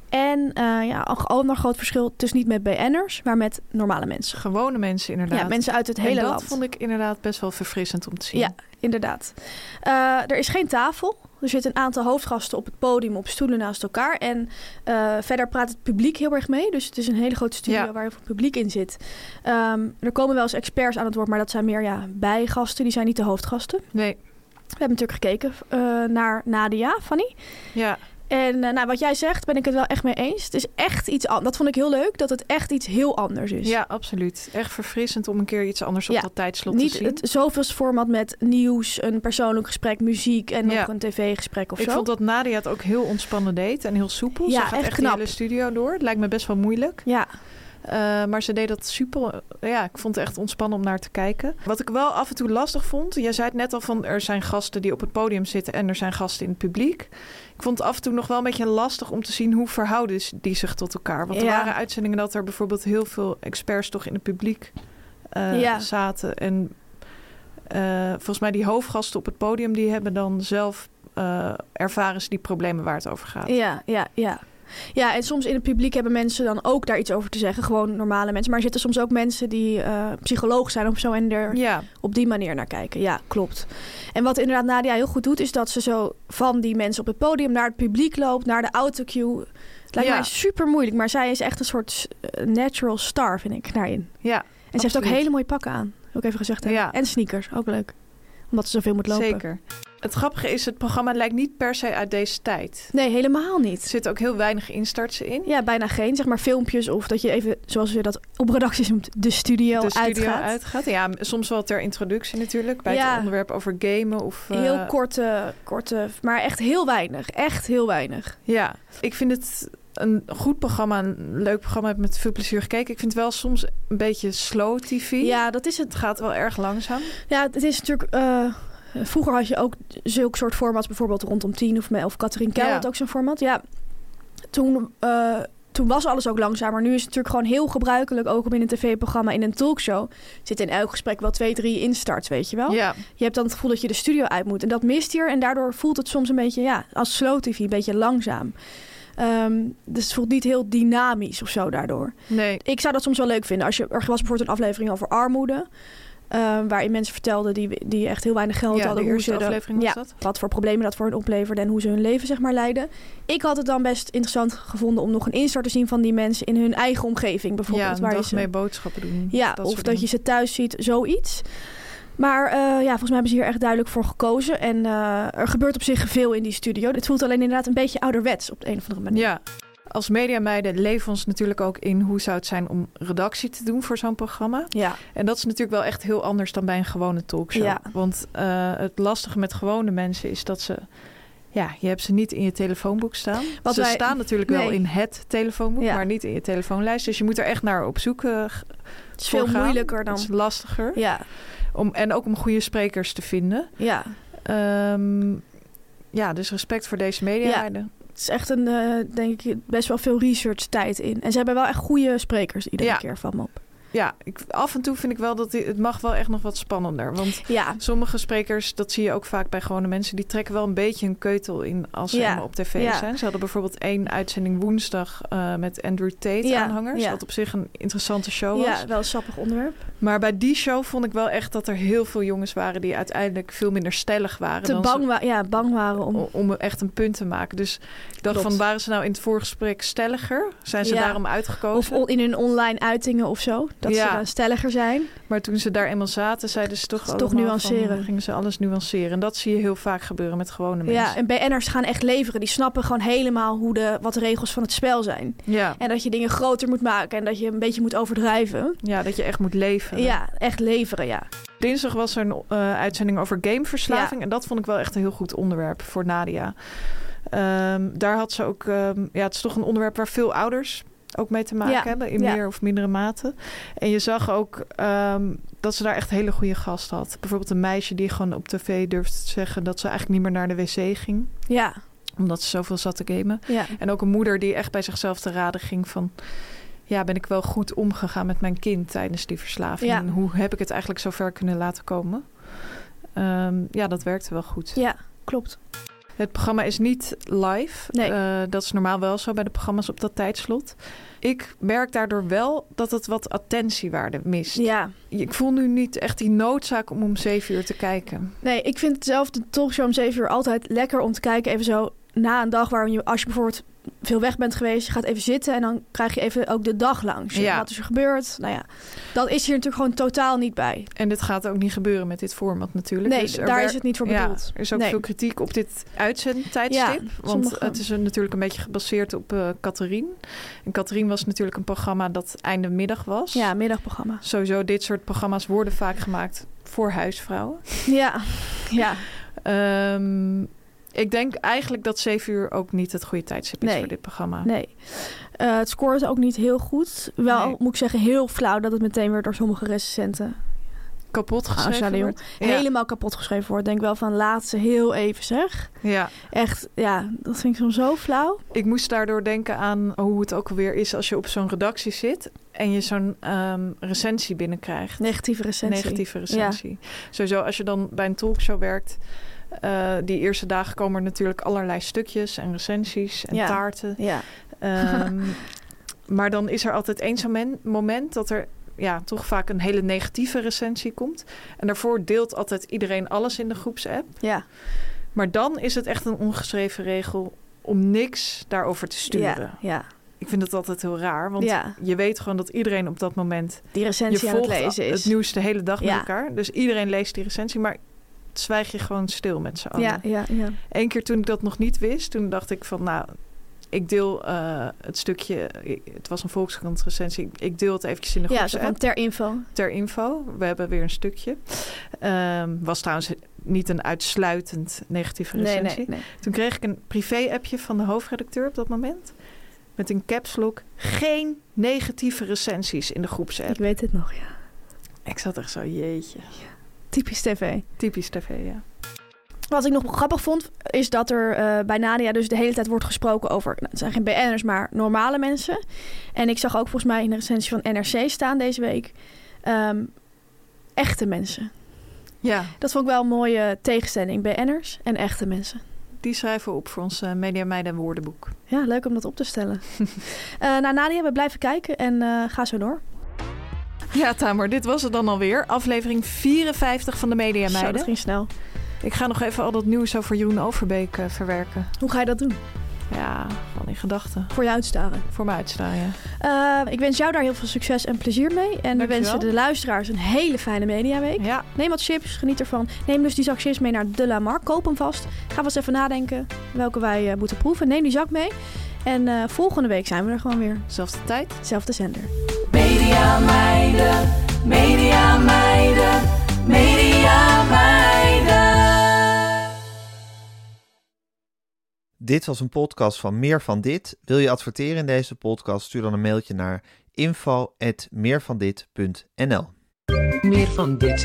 En eh, ja, ook ook nog groot verschil tussen niet met BN'ers, maar met normale mensen. Gewone mensen inderdaad. Ja, mensen uit het En hele dat land. vond ik inderdaad best wel verfrissend om te zien. Ja, inderdaad. Eh, er is geen tafel. Er zitten een aantal hoofdgasten op het podium op stoelen naast elkaar. En eh, verder praat het publiek heel erg mee. Dus het is een hele grote studio Ja. waar heel veel publiek in zit. Ehm, er komen wel eens experts aan het woord, maar dat zijn meer ja, bijgasten. Die zijn niet de hoofdgasten. Nee, We hebben natuurlijk gekeken eh, naar Nadia, Fanny. ja. En eh, nou, wat jij zegt, ben ik het wel echt mee eens. Het is echt iets anders. Dat vond ik heel leuk, dat het echt iets heel anders is. ja, absoluut. Echt verfrissend om een keer iets anders op Dus- Ja, dat tijdslot te Niet zien. het zoveelste format met nieuws, een persoonlijk gesprek, muziek en Ja. nog een tv-gesprek of ik zo. vond dat Nadia het ook heel ontspannen deed en heel soepel. Ja, ze gaat echt echt, knap. de hele studio door. Het lijkt me best wel moeilijk. Ja, Eh, maar ze deed dat super. Ja, ik vond het echt ontspannen om naar te kijken. Wat ik wel af en toe lastig vond. Jij zei het net al van er zijn gasten die op het podium zitten en er zijn gasten in het publiek. Ik vond het af en toe nog wel een beetje lastig om te zien hoe verhouden ze- die zich tot elkaar. Want er Ja. waren uitzendingen dat er bijvoorbeeld heel veel experts toch in het publiek eh, Ja. zaten. En eh, volgens mij die hoofdgasten op het podium die hebben dan zelf eh, ervaren ze die problemen waar het over gaat. ja, ja, ja. Ja, en soms in het publiek hebben mensen dan ook daar iets over te zeggen. Gewoon normale mensen. Maar er zitten soms ook mensen die eh, psycholoog zijn of zo en er Ja, op die manier naar kijken. Ja, klopt. En wat inderdaad Nadia heel goed doet, is dat ze zo van die mensen op het podium naar het publiek loopt, naar de autocue. Het lijkt Ja. mij super moeilijk, maar zij is echt een soort eh, natural star, vind ik, daarin. En ja ze heeft ook Absoluut. hele mooie pakken aan, wil ik even gezegd hebben. Ja. En sneakers, ook leuk. Omdat ze zoveel moet lopen. zeker. Het grappige is, het programma lijkt niet per se uit deze tijd. Nee, helemaal Er niet. zitten ook heel weinig instartsen in. Ja, bijna geen, zeg maar, filmpjes of dat je even, zoals je dat op redacties noemt, de studio, de studio uitgaat. uitgaat. Ja, m- soms wel ter introductie natuurlijk. Bij Ja. het onderwerp over gamen. Of, eh, Heel korte, korte, maar echt heel weinig. Echt heel weinig. Ja, ik vind het een goed programma. Een leuk programma. Ik heb met veel plezier gekeken. Ik vind het wel soms een beetje slow tv. Ja, dat is het. Het gaat wel erg langzaam. Ja, het is natuurlijk. eh, vroeger had je ook zulke soort formats, bijvoorbeeld rondom tien of mij of Catherine Keil Ja. had ook zo'n format. Ja, toen, eh, toen was alles ook langzamer. Nu is het natuurlijk gewoon heel gebruikelijk, ook om in een tv-programma, in een talkshow, zit in elk gesprek wel twee, drie instarts, weet je wel. Ja, Je hebt dan het gevoel dat je de studio uit moet. En dat mist hier. En daardoor voelt het soms een beetje, ja, als slow TV, een beetje langzaam. Ehm, dus het voelt niet heel dynamisch of zo daardoor. nee. Ik zou dat soms wel leuk vinden. Als je, er was bijvoorbeeld een aflevering over armoede. eh, waarin mensen vertelden die, die echt heel weinig geld Ja, de hadden. hoe eerste ze de- aflevering was ja, dat. Wat voor problemen dat voor hen opleverde en hoe ze hun leven zeg maar leiden. Ik had het dan best interessant gevonden om nog een instart te zien van die mensen in hun eigen omgeving. Bijvoorbeeld, Ja, een waar je dag ze- mee boodschappen doen. ja, dat of soort dat je dingen. ze thuis ziet, zoiets. Maar eh, ja, volgens mij hebben ze hier echt duidelijk voor gekozen. En eh, er gebeurt op zich veel in die studio. Dit voelt alleen inderdaad een beetje ouderwets op de een of andere manier. Ja. Als mediameiden leven ons natuurlijk ook in hoe zou het zijn om redactie te doen voor zo'n programma. Ja, En dat is natuurlijk wel echt heel anders dan bij een gewone talkshow. Ja. Want eh, het lastige met gewone mensen is dat ze... Ja, je hebt ze niet in je telefoonboek staan. Wat ze wij- staan natuurlijk wel Nee. in het telefoonboek, Ja. maar niet in je telefoonlijst. Dus je moet er echt naar op zoek eh, g- het is voor veel gaan. moeilijker dan. Het is lastiger. Ja, Om, en ook om goede sprekers te vinden. ja. Ehm, ja, dus respect voor deze mediawaarden. Het is echt een, eh, denk ik, best wel veel research tijd in. En ze hebben wel echt goede sprekers iedere Ja. keer van me op. Ja, ik, af en toe vind ik wel dat die- het mag wel echt nog wat spannender. Want Ja, Sommige sprekers, dat zie je ook vaak bij gewone mensen, die trekken wel een beetje een keutel in als ze Ja, helemaal op tv ja. zijn. Ze hadden bijvoorbeeld één uitzending woensdag eh, met Andrew Tate Ja, aanhangers, ja. wat op zich een interessante show was. ja wel een sappig onderwerp. Maar bij die show vond ik wel echt dat er heel veel jongens waren die uiteindelijk veel minder stellig waren Te dan bang, ze- wa- ja, bang waren om... o- om echt een punt te maken. Dus ik dacht Klopt. van, waren ze nou in het voorgesprek stelliger? Zijn ze Ja. daarom Of uitgekozen? on- in hun online uitingen of zo. Dat ze Ja. dan stelliger zijn. Maar toen ze daar eenmaal zaten, zeiden ze toch Toch allemaal van- nuanceren. gingen ze alles nuanceren. En dat zie je heel vaak gebeuren met gewone mensen. Ja, en BN'ers gaan echt leveren. Die snappen gewoon helemaal hoe de, wat de regels van het spel zijn. ja. En dat je dingen groter moet maken en dat je een beetje moet overdrijven. Ja, dat je echt moet leven. Ja, echt leveren, ja. Dinsdag was er een eh, uitzending over gameverslaving. En dat vond ik wel echt een heel goed onderwerp voor Nadia. Ehm, daar had ze ook... ehm, ja, het is toch een onderwerp waar veel ouders ook mee te maken Ja, hebben. In ja. meer of mindere mate. En je zag ook ehm, dat ze daar echt hele goede gast had. Bijvoorbeeld een meisje die gewoon op tv durfde te zeggen... dat ze eigenlijk niet meer naar de wc ging. Ja, Omdat ze zoveel zat te gamen. ja. En ook een moeder die echt bij zichzelf te raden ging van... Ja, ben ik wel goed omgegaan met mijn kind tijdens die verslaving? Ja. En hoe heb ik het eigenlijk zo ver kunnen laten komen? Ehm, ja, dat werkte wel goed. ja klopt. Het programma is niet live. Nee. Eh, dat is normaal wel zo bij de programma's op dat tijdslot. Ik merk daardoor wel dat het wat attentiewaarde mist. Ja, Ik voel nu niet echt die noodzaak om om zeven uur te kijken. nee, ik vind zelf de talkshow om 7 uur altijd lekker om te kijken. Even zo na een dag waar je, als je bijvoorbeeld veel weg bent geweest, je gaat even zitten en dan krijg je even ook de dag langs. Ja. Wat is er gebeurd? Nou ja, dat is hier natuurlijk gewoon totaal niet bij. En dit gaat ook niet gebeuren met dit format natuurlijk. Nee, Dus er daar wer- is het niet voor Ja, bedoeld. er is ook Nee. veel kritiek op dit uitzendtijdstip. Ja, want eh, sommige- het is een- natuurlijk een beetje gebaseerd op eh Catherine. En Catherine was natuurlijk een programma dat einde middag was. Ja, middagprogramma. Sowieso, dit soort programma's worden vaak gemaakt voor huisvrouwen. Ja, ja. Ehm, ik denk eigenlijk dat 7 uur ook niet het goede tijdstip is Nee. voor dit programma. Nee. Eh, het scoort ook niet heel goed. Wel, Nee. moet ik zeggen, heel flauw dat het meteen weer door sommige recensenten Kapot Angela geschreven de Jong. wordt. Ja. helemaal kapot geschreven wordt. Denk wel van laat ze heel even zeg. ja, Echt, ja, dat vind ik soms zo flauw. ik moest daardoor denken aan hoe het ook alweer is als je op zo'n redactie zit en je zo'n ehm, recensie binnenkrijgt. Negatieve recensie. negatieve recensie. Sowieso, als je dan bij een talkshow werkt, eh, die eerste dagen komen er natuurlijk allerlei stukjes en recensies en Ja. taarten. Ja, Ehm, maar dan is er altijd eens zo'n men- moment dat er ja, toch vaak een hele negatieve recensie komt. En daarvoor deelt altijd iedereen alles in de groepsapp. ja, Maar dan is het echt een ongeschreven regel om niks daarover te sturen. ja, ja. Ik vind dat altijd heel raar, want Ja. je weet gewoon dat iedereen op dat moment Die recensie je aan het volgt lezen is. nieuws de hele dag Ja. met elkaar. Dus iedereen leest die recensie, maar het zwijg je gewoon stil met z'n allen. ja, ja, ja. Eén keer toen ik dat nog niet wist, toen dacht ik van nou, ik deel eh, het stukje, ik- het was een Volkskrant recensie, ik- ik deel het eventjes in de Ja, groepsapp zo van ter info. ter info. We hebben weer een stukje. Ehm, was trouwens niet een uitsluitend negatieve Nee, recensie. nee, nee. Toen kreeg ik een privé-appje van de hoofdredacteur op dat moment. Met een caps lock. Geen negatieve recensies in de groepsapp. Ik weet het nog, ja. Ik zat echt zo, jeetje. Typisch tv. Typisch tv, ja. Wat ik nog grappig vond, is dat er eh, bij Nadia dus de hele tijd wordt gesproken over... Nou, het zijn geen BN'ers, maar normale mensen. En ik zag ook volgens mij in de recensie van NRC staan deze week... ehm, echte mensen. Ja, Dat vond ik wel een mooie tegenstelling. BN'ers en echte mensen. die schrijven we op voor ons eh, Media Meiden woordenboek. Ja, leuk om dat op te stellen. Eh nou, Nadia, we blijven kijken en eh, ga zo door. Ja, Tamer, dit was het dan alweer. Aflevering 54 van de Media zo, dat Meiden. ging snel. Ik ga nog even al dat nieuws over Jeroen Overbeek eh, verwerken. Hoe ga je dat doen? Ja, van in gedachten. Voor je uitstaren. Voor me uitstaan, ja. Eh, ik wens jou daar heel veel succes en plezier mee. En we Dankjewel. wensen de luisteraars een hele fijne mediaweek. Ja, Neem wat chips, geniet ervan. Neem dus die zak chips mee naar De La Mar. Koop hem vast. Ga wel eens even nadenken welke wij eh, moeten proeven. Neem die zak mee. En eh, volgende week zijn we er gewoon weer. zelfde tijd. Zelfde zender. Media meiden, media meiden, media meiden. Dit was een podcast van Meer van Dit. Wil je adverteren in deze podcast? Stuur dan een mailtje naar info.meervandit.nl Meer van dit.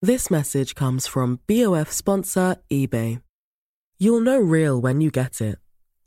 This message comes from BOF sponsor eBay. You'll know real when you get it.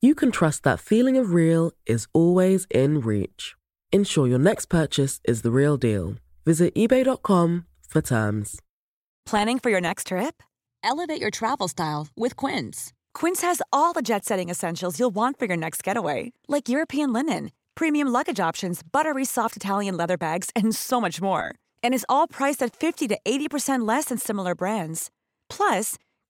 you can trust that feeling of real is always in reach. Ensure your next purchase is the real deal. Visit eBay.com for terms. Planning for your next trip? Elevate your travel style with Quince. Quince has all the jet setting essentials you'll want for your next getaway, like European linen, premium luggage options, buttery soft Italian leather bags, and so much more. And is all priced at 50 to 80% less than similar brands. Plus,